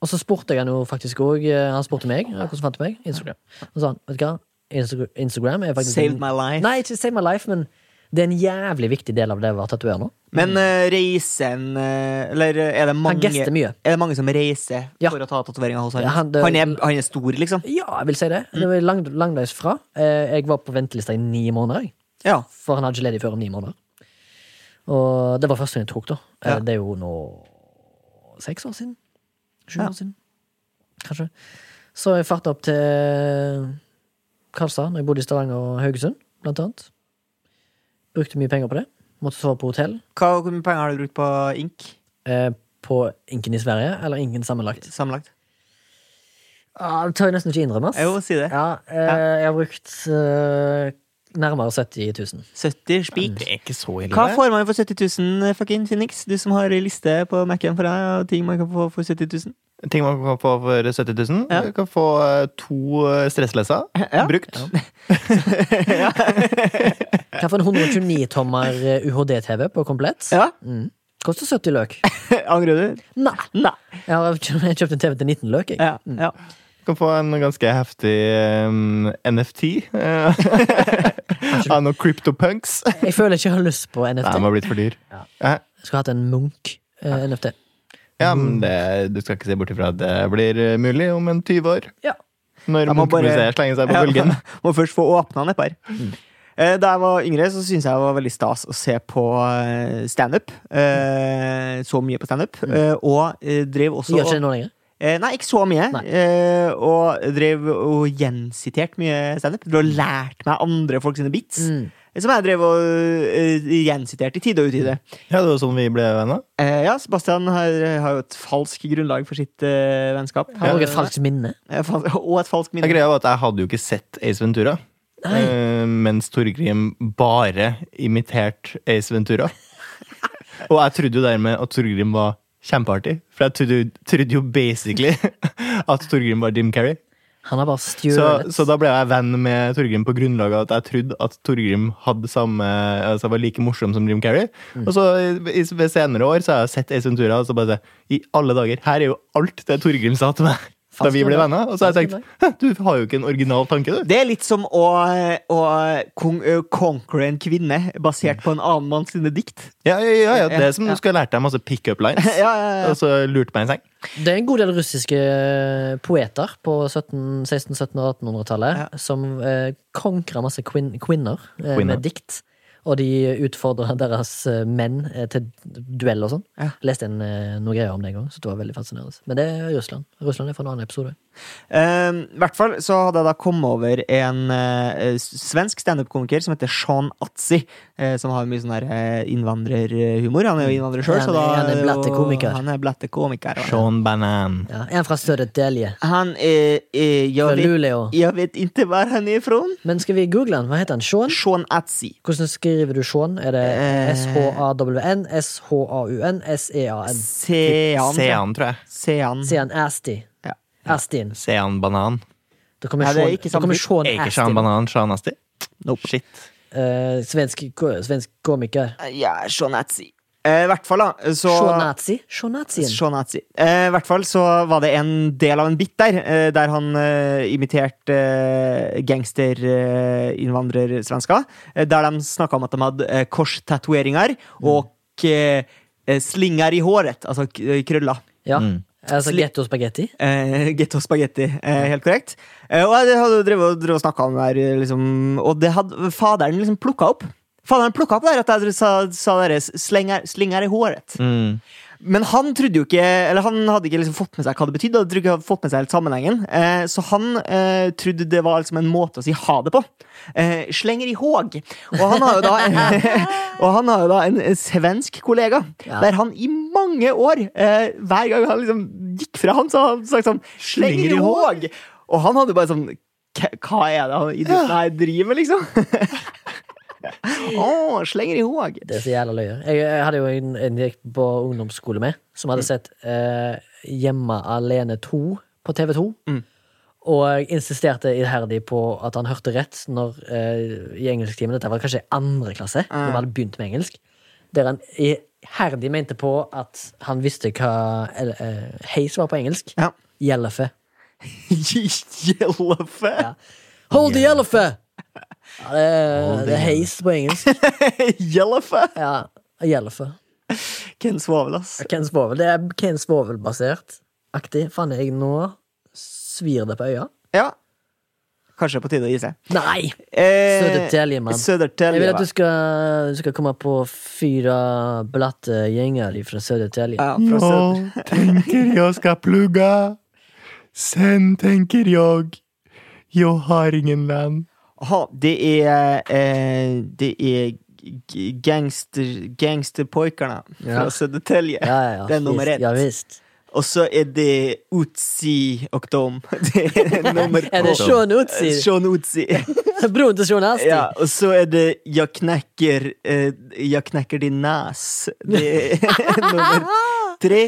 og så spurte jeg han jo faktisk òg. Han spurte meg ja, hvordan fant du meg. Instagram. Og så sa han, vet du hva, Insta- Instagram er faktisk Saved my life. Nei, ikke Save My Life, men det er en jævlig viktig del av det å være tatoverer nå. Men eh, reiser han eh, Eller er det mange Mm. gester mye. Er det mange som reiser Ja. for å ta tatoveringer hos han? Ja, han- han, det- er, han er stor, liksom? Ja, jeg vil si det. Det var lang, langveis fra. Eh, jeg var på ventelista i ni måneder. jeg. Ja. For han hadde ikke ledig før om ni måneder. Og det var første gang jeg tok, da. Eh, Ja. Det er jo nå seks år siden. Sju Ja. år siden, kanskje. Så jeg farta opp til Karlstad, når jeg bodde i Stavanger og Haugesund, blant annet. Brukte mye penger på det. Måtte sove på hotell. Hva, hvor mye penger har du brukt på ink Eh, på Inken i Sverige, eller Inken sammenlagt. sammenlagt? Ah, det tør jeg nesten ikke innrømme. ass. Jo, si det. Ja, eh, jeg har brukt eh, nærmere 70 000. 70 spik. Mm. er ikke så Hva får man eh, for 70 000, fucking Phoenix? Du som har liste på Mac-en for deg, og ting man kan få for 70 000. Ting man kan få for 70 000. Ja. Du kan få eh, to eh, stresslesser Ja. brukt. Kan få en 129-tommer UHD-TV på komplett. Ja, Mm. Koster 70 løk. Angrer du? Nei! Mm. Nei. Jeg har kjøpt- jeg kjøpt en TV til 19 løk, jeg. Ja, ja. Du kan få en ganske heftig eh, NFT. eh, Av noen CryptoPunks. Nei, Jeg føler ikke jeg har lyst på de NFT. har blitt for dyr. Eh, Jeg skulle hatt en eh, Munch-NFT. Ja, men det, du skal ikke se bort ifra at det blir eh, mulig om en 20 år. Ja. Når Da må bare- Munch-museet slenger seg på Ja, bølgen. Mm. Må først få åpna den et par. Eh, Da jeg var yngre, så syntes jeg det var veldig stas å se på eh, standup. Eh, Så mye på standup. Mm. Eh, Og eh, drev Så også gjør ikke det nå lenger. Eh, Nei, ikke så mye. Nei. Eh, Og drev og gjensitert mye standup. Drev og lærte meg andre folk sine bits. Mm. Som jeg drev og eh, gjensiterte i tide og utide. Ja, det var sånn vi ble venner. Eh, Ja, Sebastian har, har jo et falsk grunnlag for sitt eh, vennskap. Har også et falskt minne. Eh, fal- Og et falskt Ja, minne. greia var at jeg hadde jo ikke sett Ace Ventura. Eh, mens Torgrim bare imiterte Ace Ventura. Og jeg trodde jo dermed at Torgrim var kjempeartig. For jeg trodde, jo- trodde jo basically at Torgrim var Jim Carrey. Han har bare Så, stjålet. så da ble jeg venn med Torgrim på grunnlag av at jeg trodde at Torgrim hadde samme, altså var like morsom som Jim Carrey. Mm. Og så i, i, ved senere år så har jeg sett Ace Ventura og så bare sagt, i alle dager, her er jo alt det Torgrim sa til meg da vi ble venner. Og så har jeg tenkt, «Hæ, du har jo ikke en original tanke, du. Det er litt som å, å kon ø, conquere en kvinne basert på en annen mann sine dikt. Ja, ja, ja, ja. Det er som Ja. du skulle ha lært deg masse pick-up lines. Ja, ja, ja. Og så lurte meg i en seng. Det er en god del russiske eh, poeter på 17, 1600-, 1700- og 1800-tallet som eh, konkra masse kvin kvinner eh, Kvinner. med dikt. Og de utfordra deres eh, menn eh, til duell og sånn. Ja. Leste en, eh, noe greier om det en gang, så det var veldig fascinerende. Men det er Russland. Russland er fra en annen episode. Ehm, I hvert fall så hadde jeg da kommet over en eh, s- svensk standup-komiker som heter Sean Atzi, eh, som har mye sånn der eh, innvandrerhumor. Han er jo innvandrer sjøl, Han så er- da han er det jo- blattekomiker. Han er blattekomiker. og- Sean Banan. Ja, en fra Södertälje. Han er, er Fra jeg, vet, Luleå. jeg vet ikke hvor han er fra. Men skal vi google han? Hva heter han? Sean? Sean Atzi. Hvordan skriver du Sean? Er det Eh. S-H-A-W-N, S-H-A-U-N, S-E-A-n? Sean. Sean, tror jeg. Sean. Sier han Asti? Ja. Astin. Sean Banan. Da kommer Ja, det er Sean, ikke da kommer samtidig. Sean Er ikke Astin. Sean Banan Sean Asti? Nope. Shit. Eh, svensk, ko- svensk komiker. Ja, Sean Atzi. Eh, I hvert fall, da. Så, Shonazi? Shonazien. Shonazi. Eh, I hvert fall så var det en del av en bit der, eh, der han eh, imiterte eh, gangsterinnvandrersvensker. Eh, der de snakka om at de hadde eh, korstatoveringer og eh, eh, slinger i håret, altså k- eh, krøller. Ja. Mm. Altså Sli- Getto spagetti. Eh, Getto spagetti, eh, helt korrekt. Eh, og jeg hadde drevet og, drevet og snakka om det her, eh, liksom, og det hadde faderen liksom plukka opp. Faderen plukka opp der at jeg sa, sa dere slinger, slinger i håret. Mm. Men han trodde jo ikke Eller han hadde ikke liksom fått med seg hva det betydde. Han trodde ikke han hadde fått med seg helt sammenhengen eh, Så han eh, trodde det var liksom en måte å si ha det på. Eh, slenger i håg. Og han har jo da, og han har jo da en svensk kollega Ja. der han i mange år, eh, hver gang han liksom gikk fra han, så har han sagt sånn Slenger i håg! Og han hadde bare sånn "K- Hva er det han idioten her driver med, liksom? Å, slenger i håg. Det er så jævla løyer. Jeg, jeg hadde jo en, en jeg gikk på ungdomsskole med, som hadde sett eh, Hjemme alene 2 på TV2. Og jeg insisterte iherdig på at han hørte rett når, eh, i engelsktimen. Dette var kanskje i andre klasse, når vi hadde begynt med engelsk. Der han iherdig mente på at han visste hva eller, eh, heis var på engelsk. Ja. Gjellefe. Gjellefe. Ja. Hold the elephant! Ja, det, er, det er heis på engelsk. Gjellefe. Ja, Gjellefe. Ken Svovel, ass. Ken Svovel. Det er Ken Svovel-basert. Aktig. Faen, jeg nå svir det på øya. Ja. Kanskje det er på tide å gi seg. Nei! Eh, Södertälje, mann. Jeg Södertälje, vil va? at du skal, du skal komme på fire blatte gjenger fra Södertälje. ja, fra Söder- tenker jeg skal plugge. Sen tenker jeg jeg har ingen venn. Aha, det er eh, Det er g- gangster, gangsterpojkarna Ja. fra Södertälje. Ja, ja, ja. Det er nummer Visst, ett. Ja visst. Og så er det Utsi og dem. Det er nummer Er det to. Sean Utsi? Sean Utsi. Broren til Sean Asti? Ja, og så er det Jeg knekker eh, Jeg knekker din nas. Det er nummer tre.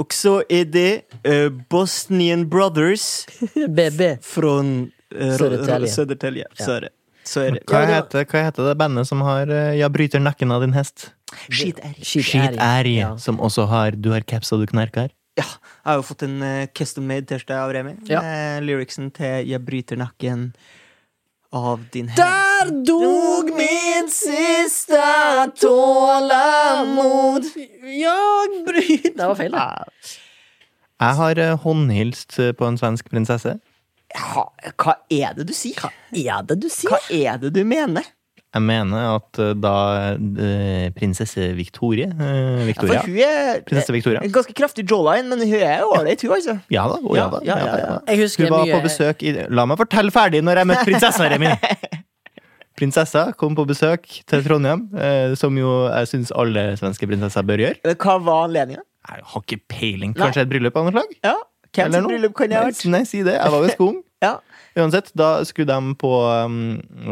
Og så er det eh, Bosnian Brothers BB. fra eh, Södertälje. Södertälje. Ja. Så er det. Så er det. Hva Ja, det var- heter, hva heter det bandet som har eh, 'Jeg bryter nakken av din hest'? Skitærg. Skitærg. Skitærg, Ja. som også har 'Du har caps og du knerker'. Ja, jeg har jo fått en eh, custom made T-skjorte av Remi. Ja. Eh, lyricsen til 'Jeg bryter nakken av din hest'. Der dog min siste tålamod. Jeg bryter Det var feil, det. Ja, Jeg har eh, håndhilst eh, på en svensk prinsesse. hva, hva er det du sier? Hva, Er det du sier? er det du mener? Jeg mener at eh, da eh, prinsesse Victoria eh, Ja, for Victoria. hun er Prinsesse Victoria. en ganske kraftig jawline, men hun er jo ålreit, hun, altså. Ja da. å, ja da. Ja, ja, ja, ja. Jeg husker Hun var mye- på besøk i La meg fortelle ferdig når jeg møtte prinsessa Remi! Prinsessa kom på besøk til Trondheim, eh, som jo jeg syns alle svenske prinsesser bør gjøre. Men Hva var anledninga? Jeg har ikke peiling. Nei. Kanskje et bryllup av noe slag? Ja, Hvem Eller sitt noe? bryllup kan det ha Nei, vært? s- Nei, si det. Jeg var jo skung. Ja. Uansett, da skulle de på um,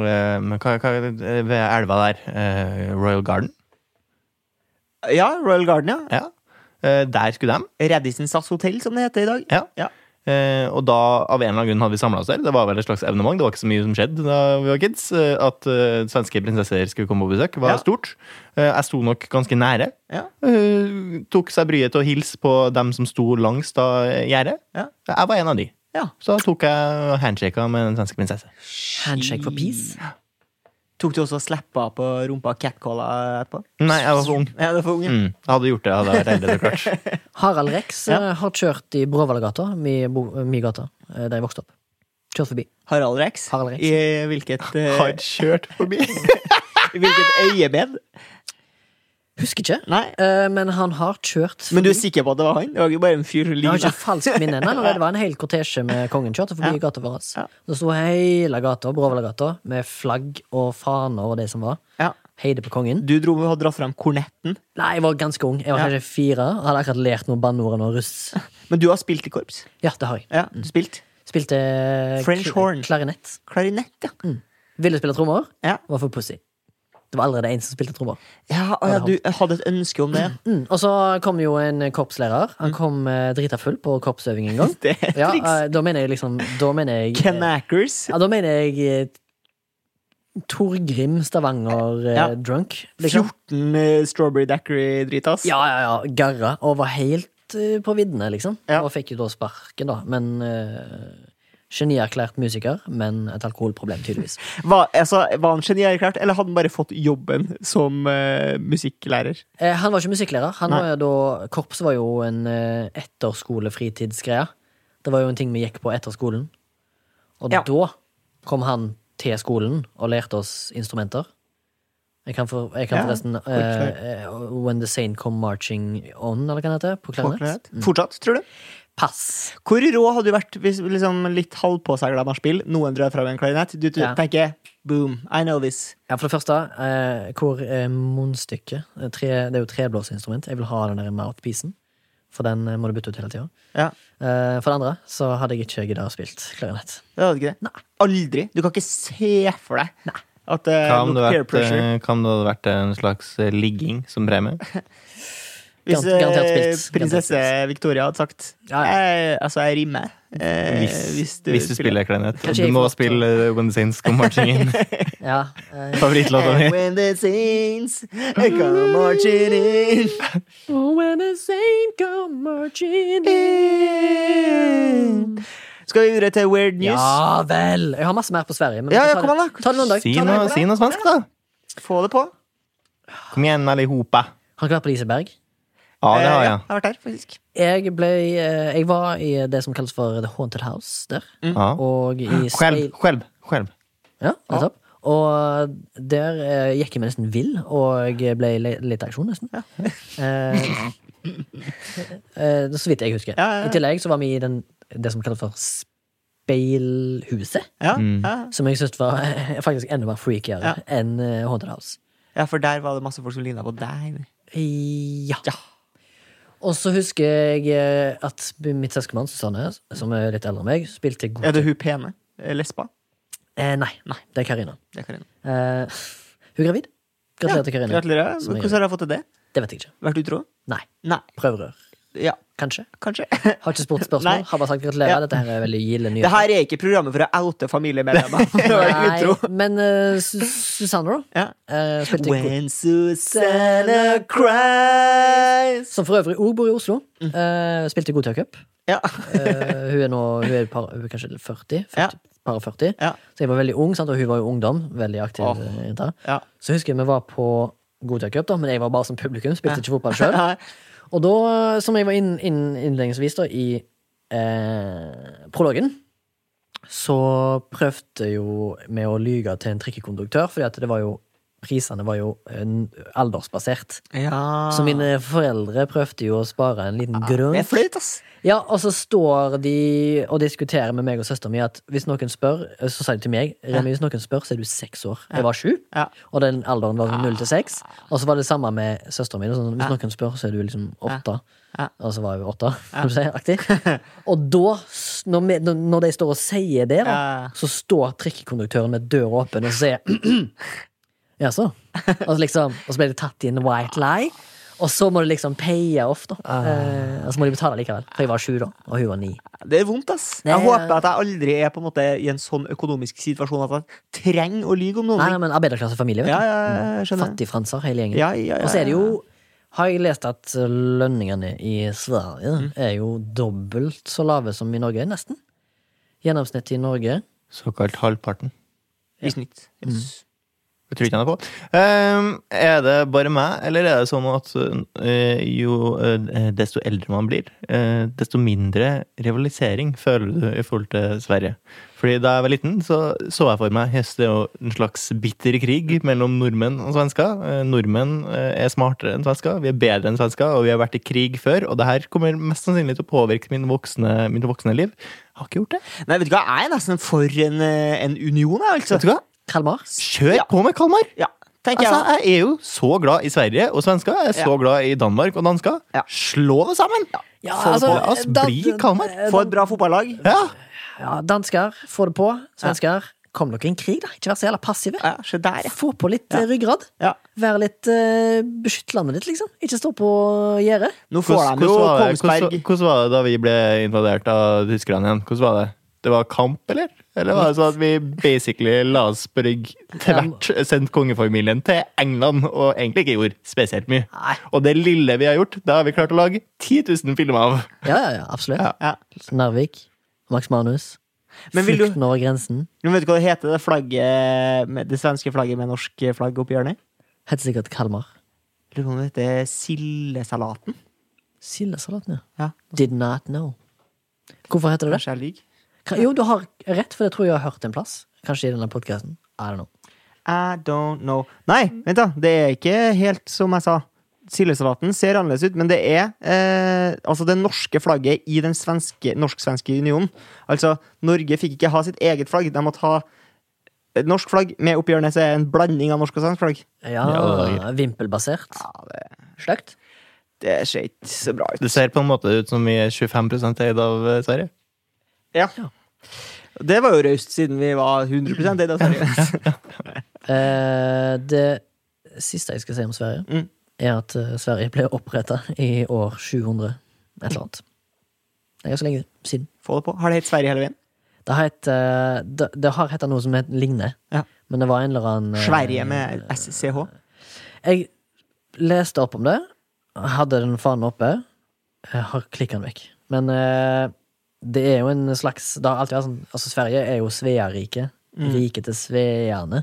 eh, hva, hva, Ved elva der. eh, Royal Garden. ja, Royal Garden, ja. Ja. Eh, der skulle de. Reddison SAS Hotel, som det heter i dag. Ja. Ja. Eh, og da, av en eller annen grunn, hadde vi samla oss der. Det var vel et slags evenement. Det var ikke så mye som skjedde da vi var kids. eh, At eh, svenske prinsesser skulle komme på besøk, var Ja. stort. Eh, jeg sto nok ganske nære. Ja. Eh, tok seg bryet til å hilse på dem som sto langs da eh, gjerdet. Ja. Jeg var en av de. Ja. Så da tok jeg handshaka med den svenske prinsesse. Handshake for peace. Tok du også og slappa på rumpa catcalla etterpå? Nei, jeg var for ung. Ja, det var unge. Mm. Jeg hadde gjort det, hadde jeg vært eldre, så klart. Harald Rex eh, har kjørt i Bråvallagata, mi, bo- mi gata, eh, der jeg vokste opp. Kjørt forbi. Harald Rex. Harald Rex. I hvilket, eh, Har kjørt forbi. i hvilket øyemed? Husker ikke, Nei. eh, men han har kjørt forbi. Men du er sikker på at det var han? Det var ikke bare en fyr Jeg har livet. ikke falskt minne. Nei, nei, det var en hel kortesje med kongen kjørte forbi gata vår. Ja. Det sto hele gata, Bråvallagata, med flagg og faner og det som var. Ja. Heide på kongen. Du dro og dratt fram kornetten, Nei, jeg var ganske ung. Jeg var Ja. kanskje fire. og Hadde akkurat lært noen banneord og noe russ. men du har spilt i korps. Ja, det har jeg. Ja, du spilt Spilte eh, French horn. klarinett. klarinett, ja. Mm. Ville spille trommer. Ja, Var for pussy. Det var allerede en som spilte trommer. ja, å ja du hadde et ønske om det. Mm. Og så kom jo en eh, korpslærer. Mm. Han kom eh, drita full på korpsøving en gang. Det er et Ja, triks. eh, da mener jeg liksom Da mener jeg Ken Ackers. Ja, da mener jeg eh, Torgrim Stavanger eh, Ja. drunk. Liksom. 14 eh, Strawberry Dackery-dritas. Ja, ja, ja. Garra. Og var helt eh, på viddene, liksom. Ja. Og fikk jo da sparken, da. Men eh, Genierklært musiker, men et alkoholproblem, tydeligvis. Var, altså, var han genierklært, eller hadde han bare fått jobben som eh, musikklærer? Eh, han var ikke musikklærer. Han Nei. var jo da, korps var jo en eh, etterskolefritidsgreie. Det var jo en ting vi gikk på etter skolen. Og Ja. da kom han til skolen og lærte oss instrumenter. Jeg kan, for, jeg kan Ja, forresten eh, klart. eh, When the Saint Come Marching On, eller hva det Mm. heter, på klarinett. Fortsatt, tror du? Pass. Hvor rå hadde du vært hvis liksom, litt halvpåsegla nachspiel, noen drar fram en klarinett, du Ja. tenker boom, I know this. Ja, for det første, eh, hvor eh, munnstykket eh, tre, Det er jo treblåsinstrument. Jeg vil ha den der mouthpiecen, for den eh, må du bytte ut hele tida. Ja, Eh, for det andre så hadde jeg ikke giddet å spilt klarinett. det hadde ikke det. Nei. Aldri. Du kan ikke se for deg at eh, Hva om noe det peer vært, pressure eh, hva om det hadde vært en slags eh, ligging som premie? Hvis Garantert- garantert eh, spilt. prinsesse Garantert Victoria hadde sagt Ja, ja. eh, Altså, jeg rimer. eh, Hvis, hvis, du, spiller klarinett. Kanskje Du jeg må får lov til å- spille eh, When the Saints Come Marching In. Ja, eh, Favorittlåta And mi. when the saints come marching in Oh, Skal vi videre til Weird News? Ja vel! Jeg har masse mer på Sverige. Men Ja, vi ja, tar kom det- an da. Ta det noen dag. Si ta det noe, noen dag. si noe svensk, da. Få det på. Kom igjen, allihopa. Har dere vært på Liseberg? Ja, det har Eh, jeg. jeg har vært der, faktisk. Jeg, ble, eh, jeg var i det som kalles for The Haunted House der. Ja. Mm. Og i Själv, speil- själv, själv. Ja, nettopp. Og der eh, gikk jeg meg nesten vill, og jeg ble le- litt aksjon, nesten. Eh, eh, det er så vidt jeg husker. Ja, ja, ja. I tillegg så var vi i den, det som kalles for Speilhuset. Ja, ja. Som jeg syntes var faktisk enda mer freakigere Ja. enn eh, Haunted House. ja, for der var det masse folk som ligna på deg. Ja. Og så husker jeg eh, at mitt søskenbarn Susanne, som er litt eldre enn meg, spilte Er god det hun pene? Eh, Lesba? eh, Nei, det er Karina. Det kan jeg. Eh, hun er gravid. Gratulerer til Karina. Gratulerer. Som er Hvordan har jeg fått til det? Det vet jeg ikke. Vært utro? Nei. Nei. Prøverør. Ja, Kanskje. kanskje. Har ikke spurt Nei. spørsmål. Har bare sagt gratulerer. Ja. Dette her er veldig gilde Det nyheter. her er ikke programmet for å oute familiemedlemmer. Det var ikke utro. Nei, men eh, Su- Susanne, da? Ja. eh, spilte i kor. When Susanna cries Som for øvrig òg bor i Oslo. Mm. eh, spilte i Godtøya Cup. Ja. Eh, hun er nå hun er par, hun er kanskje 40, 40 Ja. par og 40. Ja. Så jeg var veldig ung, sant? og hun var jo ungdom. Veldig aktiv Åh. eh, jente. Ja. Så husker jeg vi var på Godtøya Cup, da, men jeg var bare som publikum. Spilte ikke fotball sjøl. Nei. Og da, eh, som jeg var inn, inn, innledningsvis da, i eh, prologen, så prøvde jo vi å lyge til en trikkekonduktør, fordi at det var jo Prisene var jo eh, aldersbasert. Ja. Så mine foreldre prøvde jo å spare en Ah, liten grunn. Det er flaut, ass. Ja, og så står de og diskuterer med meg og søsteren min at hvis noen spør, eh, så sa de til meg Remi, hvis noen spør, så er du seks år. Jeg var sju, Ja. Ah. og den alderen var null til seks. Og så var det samme med søsteren min. Sånn, hvis noen spør, så er du liksom åtte. Ja. Og så var jeg jo åtte, kan du si. Aktig. Og da, s- når, vi, når- når de står og sier det, da, Ja. så står trikkekonduktøren med døra åpen og sier Jaså? Og, så liksom, og så ble det tatt i en white lie. Og så må du liksom paye off, da. Ah. Eh, og så må de betale likevel. For jeg var sju, da, og hun var ni. Det er vondt, ass. Det Jeg er- håper at jeg aldri er på en måte i en sånn økonomisk situasjon at jeg trenger å lyge om noen Nei, ting. nei, men Arbeiderklassefamilie, vet Ja, du. ja, jeg skjønner. Fattigfranser, hele gjengen. Ja, ja, ja, Og så er det jo har jeg lest at lønningene i Sverige Mm. er jo dobbelt så lave som i Norge, nesten. Gjennomsnittet i Norge Såkalt halvparten. I snitt. Yes. Jeg tror ikke han er på. Ehm, er det bare meg, eller er det sånn at eh, jo eh, desto eldre man blir, eh, desto mindre rivalisering føler du i forhold til Sverige? Fordi da jeg var liten, så så jeg for meg yes, det er jo en slags bitter krig mellom nordmenn og svensker. Eh, nordmenn eh, er smartere enn svensker, vi er bedre enn svensker, og vi har vært i krig før. Og det her kommer mest sannsynlig til å påvirke min voksne, mitt voksne liv. Jeg har ikke gjort det. Nei, vet du hva, jeg er nesten for en, eh, en union, jeg, altså. Vet du hva? Kalmar. Kjør Ja. på med Kalmar! Ja, tenker jeg. Altså, jeg er jo så glad i Sverige og svensker. Jeg er så Ja. glad i Danmark og dansker. Ja. Slå det sammen! Ja, Få det altså, på oss. da- Bli Kalmar. Få et bra fotballag. Ja. Ja, dansker, få det på. Svensker, kom dere i en krig, da. Ikke vær så jævla passive. Ja, se der, ja. Få på litt eh, ryggrad. ja. Vær litt eh, Beskytt landet ditt, liksom. Ikke stå på gjerdet. Nå får Hvordan, de jo hvordan, var Kongsberg. det, hvordan, hvordan var det da vi ble invadert av tyskerne igjen? Hvordan var det? Det var kamp, eller? Eller var det sånn at vi basically la oss på rygg til Ja. hvert, sendt kongefamilien til England, og egentlig ikke gjorde spesielt mye? Og det lille vi har gjort, da har vi klart å lage 10 000 filmer av. Ja, ja, ja, absolutt. Ja. Ja. Narvik. Max Manus. Men vil du- Flukten over grensen. Men vet du hva det heter, det flagget med, det svenske flagget med norsk flagg oppi hjørnet? Heter sikkert Kalmar. Lurer på om det heter sildesalaten? Sildesalaten, ja. Ja, Did not know. Hvorfor heter det det? kanskje jeg lyver. Ka- Jo, du har rett, for det tror jeg jeg har hørt en plass. Kanskje i denne podkasten. I don't know. I don't know. Nei, vent da. Det er ikke helt som jeg sa. Sildesalaten ser annerledes ut, men det er eh, altså det norske flagget i den svenske, norsk-svenske unionen. Altså, Norge fikk ikke ha sitt eget flagg. De måtte ha et norsk flagg. Med oppi hjørnet så er det en blanding av norsk og svensk flagg. Ja, Ja, Vimpelbasert. Ja, det, Sløkt. det ser ikke så bra ut. Det ser på en måte ut som vi er 25 eid av eh, Sverige. Ja. Det var jo raust, siden vi var 100 eid av Sverige. Eh, det siste jeg skal si om Sverige, Mm. er at eh, Sverige ble oppretta i år 700. Et eller annet. Det er så lenge siden. Få det på. Har det hett Sverige hele veien? Det har hett eh, det, det har hett noe som het ligner, Ja. men det var en eller annen eh, Sverige med SCH? Jeg leste opp om det, hadde den fanen oppe. Jeg har klikka den vekk. Men eh, det er jo en slags Det har alltid vært sånn Altså, Sverige er jo Sveariket. Mm. Riket til sveene.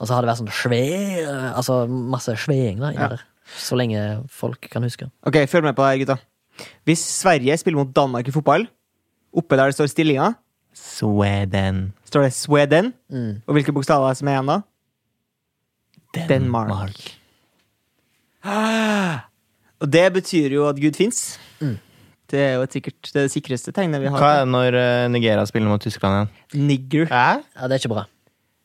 Og så har det vært sånn sve Altså masse sveing, da, inni Ja. der. Så lenge folk kan huske. Ok, følg med på det her, gutta. Hvis Sverige spiller mot Danmark i fotball, oppe der det står stillinga, Sweden. står det Sweden. Mm. Og hvilke bokstaver er det som er igjen da? Denmark. Ah! Og det betyr jo at Gud fins. Mm. Det er jo et sikkert, det, er det sikreste tegnet vi Hva er har. det når eh, Nigeria spiller mot Tyskland igjen? Nigger. Hæ? Ja, det er ikke bra.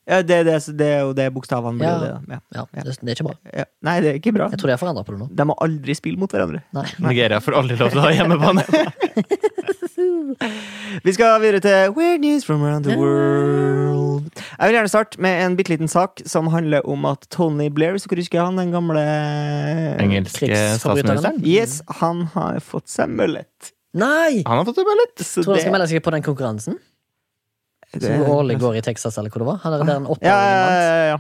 Ja, det, det, det er jo det bokstavene blir. Ja. Det, da. ja. Ja, det, det er ikke bra. Ja. Nei, det er ikke bra. Jeg tror de har forandra på det nå. De må aldri spille mot hverandre. Nei. Nigeria får aldri lov til å ha hjemmebane. Vi skal videre til Weird news from around the world. Jeg vil gjerne starte med en bitte liten sak som handler om at Tony Blair, hvis dere husker han, den gamle Engelske Krigsforbryterne. statsministeren. Yes, han har fått seg møllet. Nei! Han har fått en ballett! Så Tror han skal det- melde seg på den konkurransen det- som årlig går i Texas, eller hvor det var. Han er der en Ja, ja, oppdager ja, ja.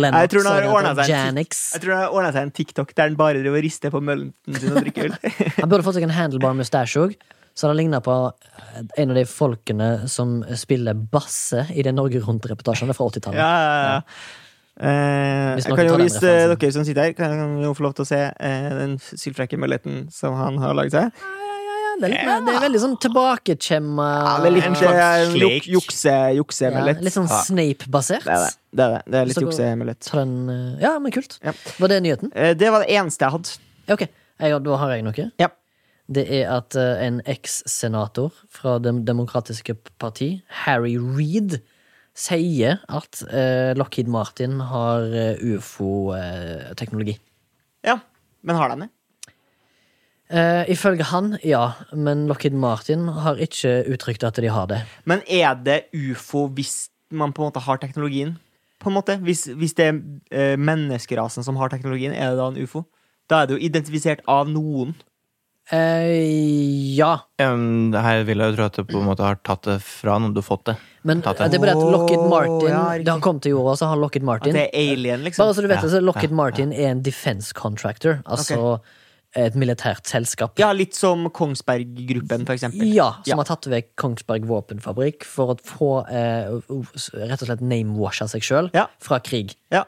Lennox. Jeg tror han har og den ordnet seg en heter Janix. Jeg tror det har ordna seg en TikTok der han bare driver og rister på møllen sin og drikker øl. Han burde fått seg en handlebar mustache òg. Så han ligner på eh, en av de folkene som spiller basse i den Norge Rundt-reportasjen fra 80-tallet. Ja, ja, ja. Eh, Hvis jeg noen kan jo, tar den hvis eh, referansen. dere som sitter her, kan jo få lov til å se eh, den sylfrekke mølleten som han har laget seg. Det, er litt, mer- det er veldig sånn tilbakekjemma det er litt en det er slags Eh, en juk- slik. jukse, ja, juksemøllett. Litt sånn Ja. Snape-basert. Det er det. Det er, det. Det er Så litt går- juksemøllett. Så den, eh, Ja, men kult. Ja. Var det nyheten? Eh, Det var det eneste jeg hadde. Ja, Ok, jeg, Da har jeg noe. Ja. Det er at eh, en eks-senator fra Det demokratiske parti, Harry Reed, sier at eh, Lockheed Martin har eh, ufo-teknologi. Ja. Men har de det? Eh, ifølge han, ja, men Lockheed Martin har ikke uttrykt at de har det. Men er det ufo hvis man på en måte har teknologien? På en måte? Hvis, hvis det er eh, menneskerasen som har teknologien, er det da en ufo? Da er det jo identifisert av noen. Eh, ja, Um, det her vil jeg jo tro at du på en måte har tatt det fra noen du har fått det. men Tatt det. det er bare at Lockheed Åh, Martin ja, Det har riktig. kommet til jorda, så har Lockheed At Martin det er alien, liksom. Bare så du vet Ja, det, så Lockheed ja, Martin er en defense contractor, altså et militært selskap. Ja, litt som Kongsberg-gruppen, for eksempel. Ja, som Ja. har tatt vekk Kongsberg våpenfabrikk for å få eh, rett og slett name-washa seg sjøl Ja. fra krig. Ja.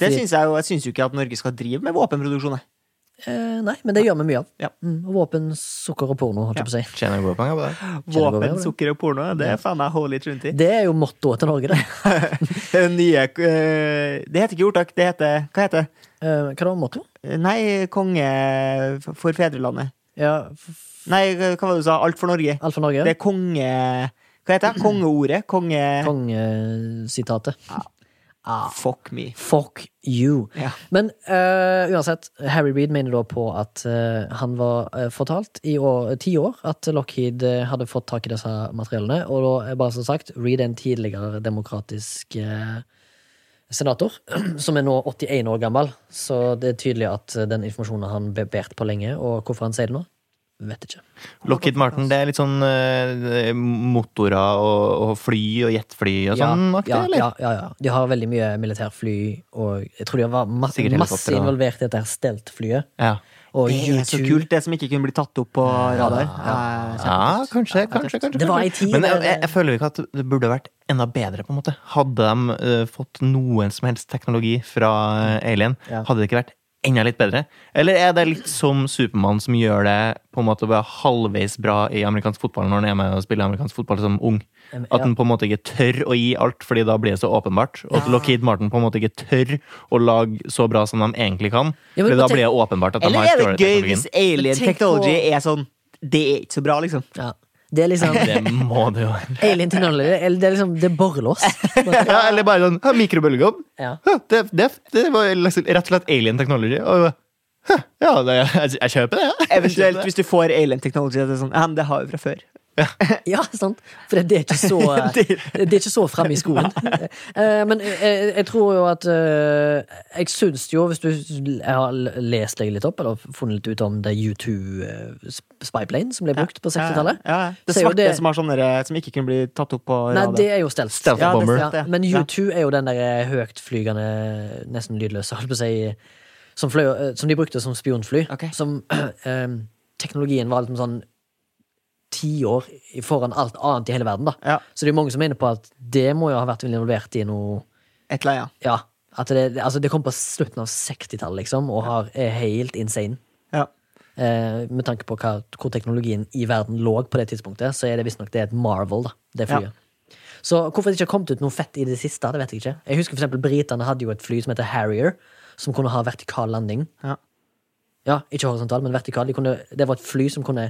Det Fordi- syns jeg jo. Jeg syns jo ikke at Norge skal drive med våpenproduksjon. jeg. Eh, nei, men det gjør vi mye av. Ja. Mm, og våpen, sukker og porno, holdt jeg på å si. Tjener gode penger på det. Kjenner du over Våpen, det? sukker og porno, det er faen meg holy trinity. Det er jo mottoet til Norge, det. Det er nye eh, Det heter ikke ordtak, det heter Hva heter det? Eh, hva da, motto? Nei, konge for fedrelandet. Ja, Nei, hva var det du sa? Alt for Norge. Alt for Norge? Det er konge... Hva heter det? Kongeordet? Konge... Kongesitatet. Ah, fuck me. Fuck you. Ja. Men eh, uansett, Harry Reed mener da på at eh, han var eh, fortalt i år, ti år at Lockheed eh, hadde fått tak i disse materiellene. Og da, eh, bare som sagt, Reed er en tidligere demokratisk eh, senator, som er nå 81 år gammel. Så det er tydelig at eh, den informasjonen han ble båret på lenge, og hvorfor han sier det nå, vet ikke. Lockheed Martin, det er litt sånn eh, motorer og, og fly og jetfly og sånn aktig, ja, eller? ja, ja, ja. De har veldig mye militærfly, og jeg tror de var ma Sikkert helikopter, masse da. involvert i dette her steltflyet. Ja. Og Det er så U2. kult, det som ikke kunne bli tatt opp på radar. Eh, ja, kanskje, kanskje, kanskje. Det var eh, kanskje. ei tid Men jeg, der- jeg, jeg føler ikke at det burde vært enda bedre, på en måte. Hadde de eh, fått noen som helst teknologi fra eh, Alien, Ja. hadde det ikke vært enda litt bedre? Eller er det litt som Supermann som gjør det på en måte å være halvveis bra i amerikansk fotball når han er med og spiller amerikansk fotball som ung? Um, ja. At han på en måte ikke tør å gi alt, fordi da blir det så åpenbart. Og at Lockheed Martin på en måte ikke tør å lage så bra som de egentlig kan. Ja, men fordi på da te- blir det åpenbart at de Eller har er det stjålet gøy teknologien. hvis alien Men tenk technology på- er sånn Det er ikke så bra, liksom. Ja. Det er liksom Det må det jo være. Alien Technology. eller Det er liksom Det er borrelås. Ja, eller bare sånn «Hæ, mikrobølgeovn. Ja. Hæ, Det, det, det var liksom rett og slett alien technology. Og, «Hæ, ja, det, jeg, jeg kjøper det. ja. Jeg Eventuelt kjøper det. hvis du får alien technology, det er sånn Ja, men det har vi fra før. Ja, sant? For det er ikke så Det er ikke så fremme i skoen. Eh, Men jeg, jeg tror jo at eh, Jeg syns jo, hvis du jeg har lest deg litt opp, eller funnet litt ut om det U2 eh, Spyplane som ble brukt på 60-tallet Ja, ja. Det så er jo svarte som, har sånne, der- som ikke kunne bli tatt opp på Nei, radar. det er jo stelt. Stealth ja, bomber. Ja, men U2 er jo den der eh, høytflygende, nesten lydløse, holdt på å si, som, fløy, eh, som de brukte som spionfly. Ok. Som eh, teknologien var liksom sånn tiår foran alt annet i hele verden, da. Ja. Så det er mange som er inne på at det må jo ha vært involvert i noe Et eller annet, Ja. At det, altså det kom på slutten av 60-tallet, liksom, og har, er helt insane. ja. ja. Eh, med tanke på hva, hvor teknologien i verden lå på det tidspunktet, så er det visstnok det er et marvel, da, det flyet. Så hvorfor det ikke har kommet ut noe fett i det siste, det vet jeg ikke. Jeg husker for eksempel Britene hadde jo et fly som heter Harrier, som kunne ha vertikal landing. Ja. Ja, ikke horisontal, men vertikal. De kunne, det var et fly som kunne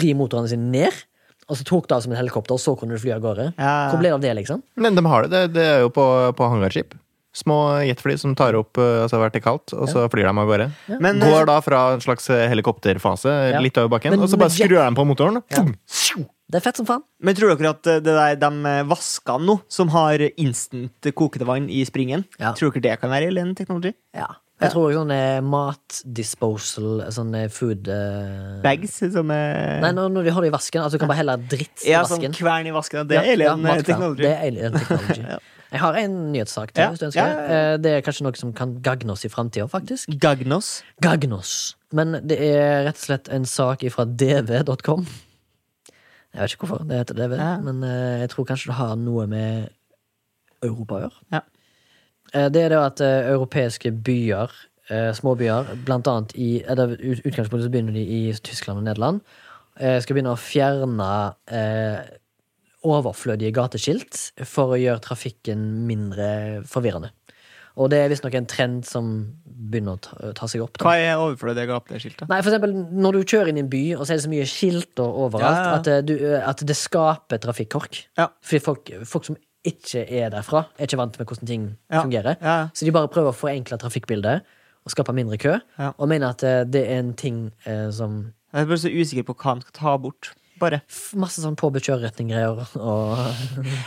vri motorene sine ned, og så tok det av som et helikopter, og så kunne du fly av gårde. Ja. Hvor ble det av det, liksom? Men de har det. Det, det er jo på, på hangarskip. Små jetfly som tar opp eh, altså vertikalt, og så flyr de av gårde. eh, Men, Går da fra en slags eh, helikopterfase Ja. litt over bakken, Men og så bare med jet- skrur de på motoren. Det er fett som faen. Men tror dere at eh, det der, de vaskene nå, som har instant kokete vann i springen, Ja. tror dere det kan være alien technology? Ja. Jeg tror også sånne matdisposal, sånne food eh, Bags som er Nei, når, når de har det i vasken. Altså, du kan bare helle dritt i Ja, sånn vasken. kvern i vasken. Det Ja, er ja, alien eh, matkvern. technology. Det er alien technology. Jeg har en nyhetssak til, Ja, hvis du ønsker. ja, ja, ja. Eh, Det er kanskje noe som kan gagne oss i framtida, faktisk. Gagnos. Gagne oss. Men det er rett og slett en sak fra dv.com. Jeg vet ikke hvorfor det heter dv, Ja. men eh, jeg tror kanskje det har noe med Europa å gjøre. Ja. Eh, Det er det at eh, europeiske byer, eh, småbyer, blant annet i eller, ut- utgangspunktet så begynner de i Tyskland og Nederland, eh, skal begynne å fjerne eh, overflødige gateskilt for å gjøre trafikken mindre forvirrende. Og det er visstnok en trend som begynner å ta, ta seg opp. da. Hva er overflødige gapeskiltet? Nei, for eksempel når du kjører inn i en by, og så er det så mye skilt og overalt, Ja, ja, ja. At, eh, du, eh, at det skaper trafikkork. Ja. Fordi folk, folk som ikke er derfra, er ikke vant med hvordan ting Ja. fungerer. Ja, ja. Så de bare prøver å forenkle trafikkbildet og skape mindre kø. Ja. Og mener at eh, det er en ting eh, som Jeg er bare så usikker på hva han skal ta bort. Bare. f- Masse sånn påbudt kjøreretning-greier. Og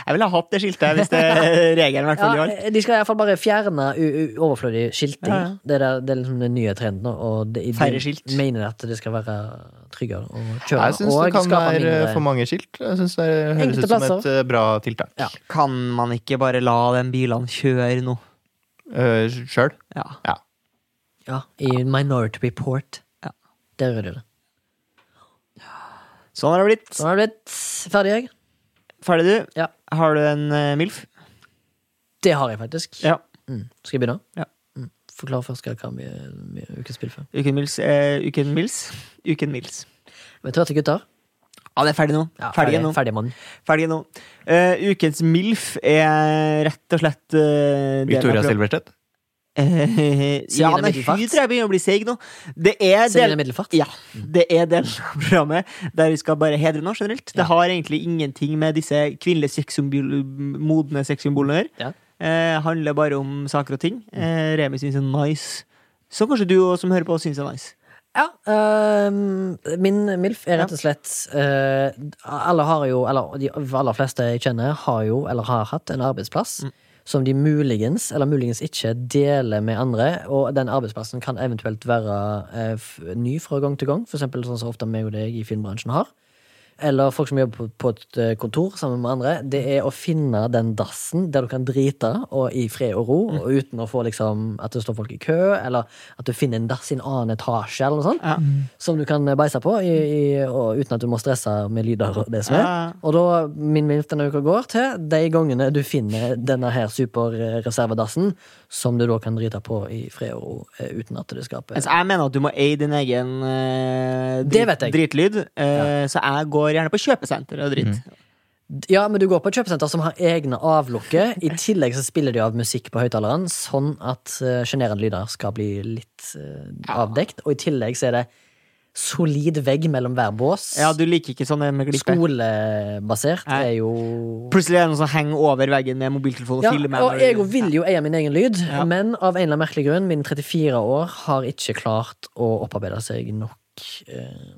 Jeg ville ha hatt det skiltet hvis det er regelen i hvert fall ja, gjaldt. eh, de skal iallfall bare fjerne u u overflødig skilting. Ja, ja. Det, er, det er liksom den nye trenden. nå, Og det, de Færre skilt. mener at det skal være tryggere å kjøre. Jeg syns det og kan skape være mindre- for mange skilt. Jeg synes det høres Enkelte ut som et plasser. eh, bra tiltak. Ja. Kan man ikke bare la de bilene kjøre nå? Uh, Sjøl. Ja. Ja. Ja, i Minority Report. Ja. Der gjør de det. Sånn har det blitt. Så nå er det blitt ferdig, jeg. Ferdig, du. Ja. Har du en eh, MILF? Det har jeg faktisk. Ja. Mm. Skal jeg begynne? Ja. Mm. Forklar først hva hva vi, vi ukens spill for. Uken Mils. Eh, uken Mils. Uken Mils. Vet du hva til gutter? Ja, det er ferdig nå. Ja, ferdig nå. Ferdig, mann. Ferdig nå. Eh, ukens MILF er rett og slett eh, det Victoria jeg prøver- Silverstedt. Eh, ja, men hun Middelfart. tror jeg begynner å bli seig nå. Det er Siden del, det er middelfart. ja, det er delen av programmet der vi skal bare hedre noe generelt. Det har egentlig ingenting med disse kvinnelige sexsymbol, modne sexsymbolene å gjøre. Ja. Eh, handler bare om saker og ting. Eh, Remi syns er nice. Så kanskje du også som hører på, syns er nice. Ja, øhm, min MILF er rett og slett øh, Alle har jo, eller de aller fleste jeg kjenner, har jo eller har hatt en arbeidsplass som de muligens, eller muligens ikke, deler med andre. Og den arbeidsplassen kan eventuelt være eh, f ny fra gang til gang, for eksempel sånn som ofte meg og deg i filmbransjen har. Eller folk som jobber på, på et eh, kontor sammen med andre. Det er å finne den dassen der du kan drite og i fred og ro, Mm. og uten å få liksom at det står folk i kø, eller at du finner en dass i en annen etasje, eller noe sånt. Ja. Som du kan eh, beise på i, i, og, uten at du må stresse med lyder og det som er. Ja. Og da, min minst denne uka går til de gangene du finner denne her superreservedassen, som du da kan drite på i fred og ro, eh, uten at det skaper Altså, jeg mener at du må eie din egen eh, Det vet jeg. dritlyd, eh, så jeg går gjerne på kjøpesenter og Mm. dritt. Ja, men du går på et kjøpesenter som har egne avlukker. I tillegg så spiller de av musikk på høyttaleren, sånn at eh, sjenerende lyder skal bli litt eh, avdekt. Og i tillegg så er det solid vegg mellom hver bås. Ja, du liker ikke sånne med glippe. Skolebasert Nei. er jo Plutselig er det noen som henger over veggen med mobiltelefon og ja, filmer. og jeg vil jo eie min egen lyd, Ja. men av en eller annen merkelig grunn, mine 34 år har ikke klart å opparbeide seg nok eh,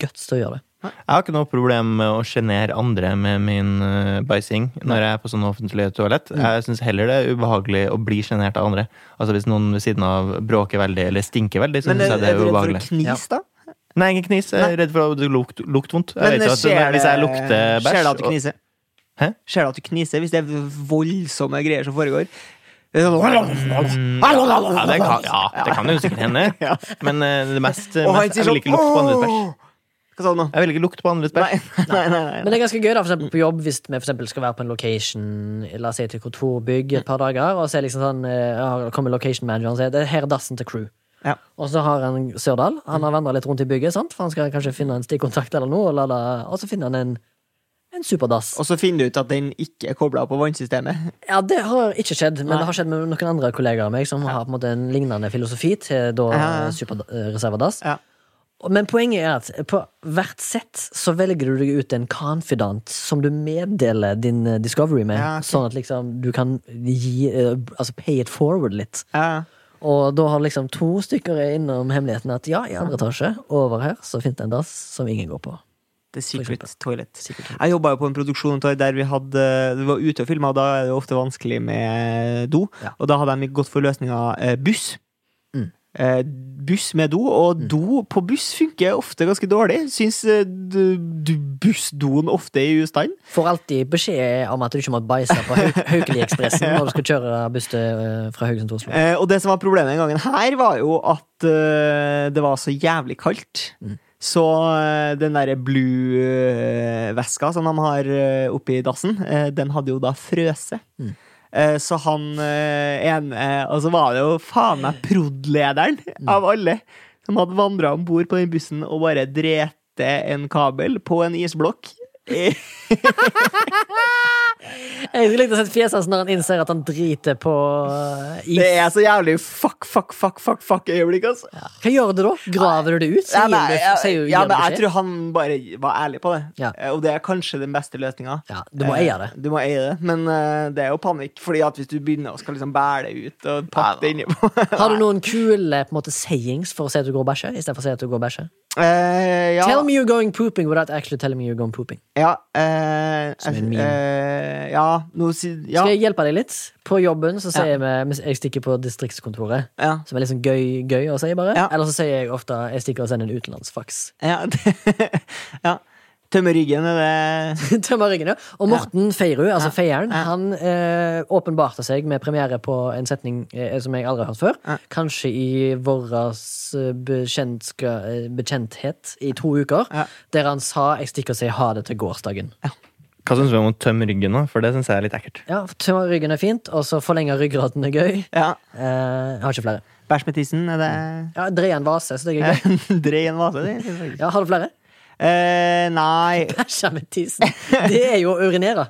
guts til å gjøre det. Jeg har ikke noe problem med å sjenere andre med min eh, bæsjing når jeg er på sånn offentlig toalett. Mm. Jeg syns heller det er ubehagelig å bli sjenert av andre. Altså Hvis noen ved siden av bråker veldig eller stinker veldig, så Men eh, syns er, jeg er det er du redd for å ubehagelig. knise, da? Nei, ikke knis. Jeg er redd for at det lukter lukt vondt. Jeg Men eh, vet jo at skjer Hvis jeg det- lukter bæsj Skjer det at du og- kniser? Hæ? Skjer det at du kniser hvis det er voldsomme greier som foregår? Det er sånn- ja, det kan, ja, det kan jo sikkert hende. Men eh, det mest, Og han mest sier Jeg vil sånn ikke lukte på andres bæsj. «Åh!» Hva sa du nå? Jeg vil ikke lukte på andres bæsj. Nei, nei, nei. Men det er ganske gøy da, for eksempel på jobb hvis vi for eksempel skal være på en location La oss si til kontorbygg et par dager, og så er liksom sånn eh, ja, kommer location manageren og sier det her er dassen til crew. Ja. Og så har han Sørdal. Han har vandra litt rundt i bygget, sant? for han skal kanskje finne en stikkontakt eller noe, og, la det- og så finner han en, en superdass. Og så finner du ut at den ikke er kobla på vannsystemet. Ja, det har ikke skjedd, men Nei. det har skjedd med noen andre kollegaer av meg som har på en måte en lignende filosofi til da Ja. eh, superreservedass. Ja. Og- Men poenget er at på hvert sett så velger du deg ut en confidant som du meddeler din eh, discovery med, Ja, ok. sånn at liksom du kan gi eh, Altså pay it forward litt. Ja. Og da har liksom to stykker er innom hemmeligheten at ja, i andre etasje, over her, så finnes det en dass som ingen går på. The Secret eksempel. Toilet. Secret Toilet. Jeg jobba jo på en produksjon der vi hadde Vi var ute og filma, og da er det jo ofte vanskelig med do. Ja. Og da hadde de gått for løsninga eh, buss. Mm. Eh, buss med do, og do på buss funker ofte ganske dårlig. Syns eh, du- du- bussdoen ofte er i ustand. Får alltid beskjed om at du ikke må bæsje på Hauk- Haukeliekspressen når du skal kjøre buss til, eh, fra Haugesund til Oslo. Eh, og det som var problemet den gangen her, var jo at eh, det var så jævlig kaldt. Så eh, den derre blue-veska som de har eh, oppi dassen, eh, den hadde jo da frøse. Eh, Så han eh, ene Og så var det jo faen meg prod-lederen av alle som hadde vandra om bord på den bussen og bare drepte en kabel på en isblokk. Eh, Jeg likte å se fjeset hans når han innser at han driter på eh, Det is. er så jævlig fuck, fuck, fuck, fuck, fuck øyeblikk, altså. Hva gjør du da? Graver du det ut? Sier Ja, nei, du, ja, sier du, ja, gir du men jeg beskjed? tror han bare var ærlig på det. Ja. Eh, Og det er kanskje den beste løsninga. Eh, Ja, du må eie det. Du må eie det, men eh, det er jo panikk, Fordi at hvis du begynner å skal liksom bære det ut og pakke det inni på Har du noen kule på en måte, sayings for å si at du går og bæsjer? i stedet for å si at du går og bæsjer? Eh, ja. Tell me you're going pooping without actually telling me you're going pooping. Ja, eh, Som en eh, meme. eh, ja, noe si, ja, Skal jeg hjelpe deg litt? På jobben så Ja. sier vi mens jeg stikker på distriktskontoret. ja, Som er liksom gøy, gøy å si, bare. Ja. Eller så sier jeg ofte jeg stikker og sender en utenlandsfaks. ja, ja. Tømme ryggen, er det Tømmer ryggen, ja. Og Morten Feirud, altså feieren, Ja. han eh, åpenbarte seg med premiere på en setning eh, som jeg aldri har hørt før. Ja. Kanskje i vår eh, bekjenthet i to uker. Ja. Der han sa 'jeg stikker og sier ha det til gårsdagen'. Hva syns vi om å tømme ryggen nå? For det syns jeg er litt ekkelt. Ja, Tømmer ryggen er fint, og så forlenge ryggraden er gøy. ja. Eh, jeg har ikke flere. Bæsj med tissen, er det Ja, Dreie en vase, så det er gøy. Drei en vase, det. er faktisk- Ja, Har du flere? Eh, nei Bæsja med tissen. Det er jo å urinere.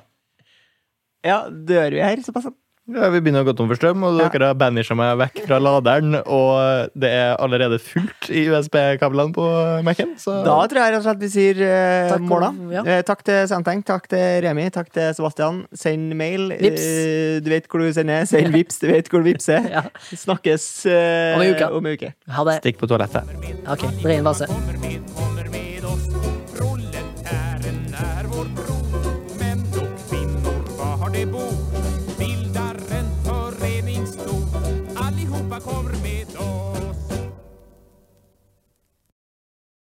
Ja, dør vi her, såpass? Ja, vi begynner å gå tom for strøm, og Ja. dere har banisha meg vekk fra laderen. Og det er allerede fullt i USB-kablene på Mac-en. Så Da tror jeg rett og slett vi sier eh, Takk og- måla. ja. Eh, takk til Santeng, takk til Remi, takk til Sebastian. Send mail. Vips. Eh, du vet hvor du sender. Send vips, du vet hvor du vipser. Ja. Snakkes eh, Om en uke. Om en uke. Ha det. stikk på toalettet. Ok, Dreie en vase. Kommer med, kommer med oss. Proletären är vår bror. Män och kvinnor, var har de bor?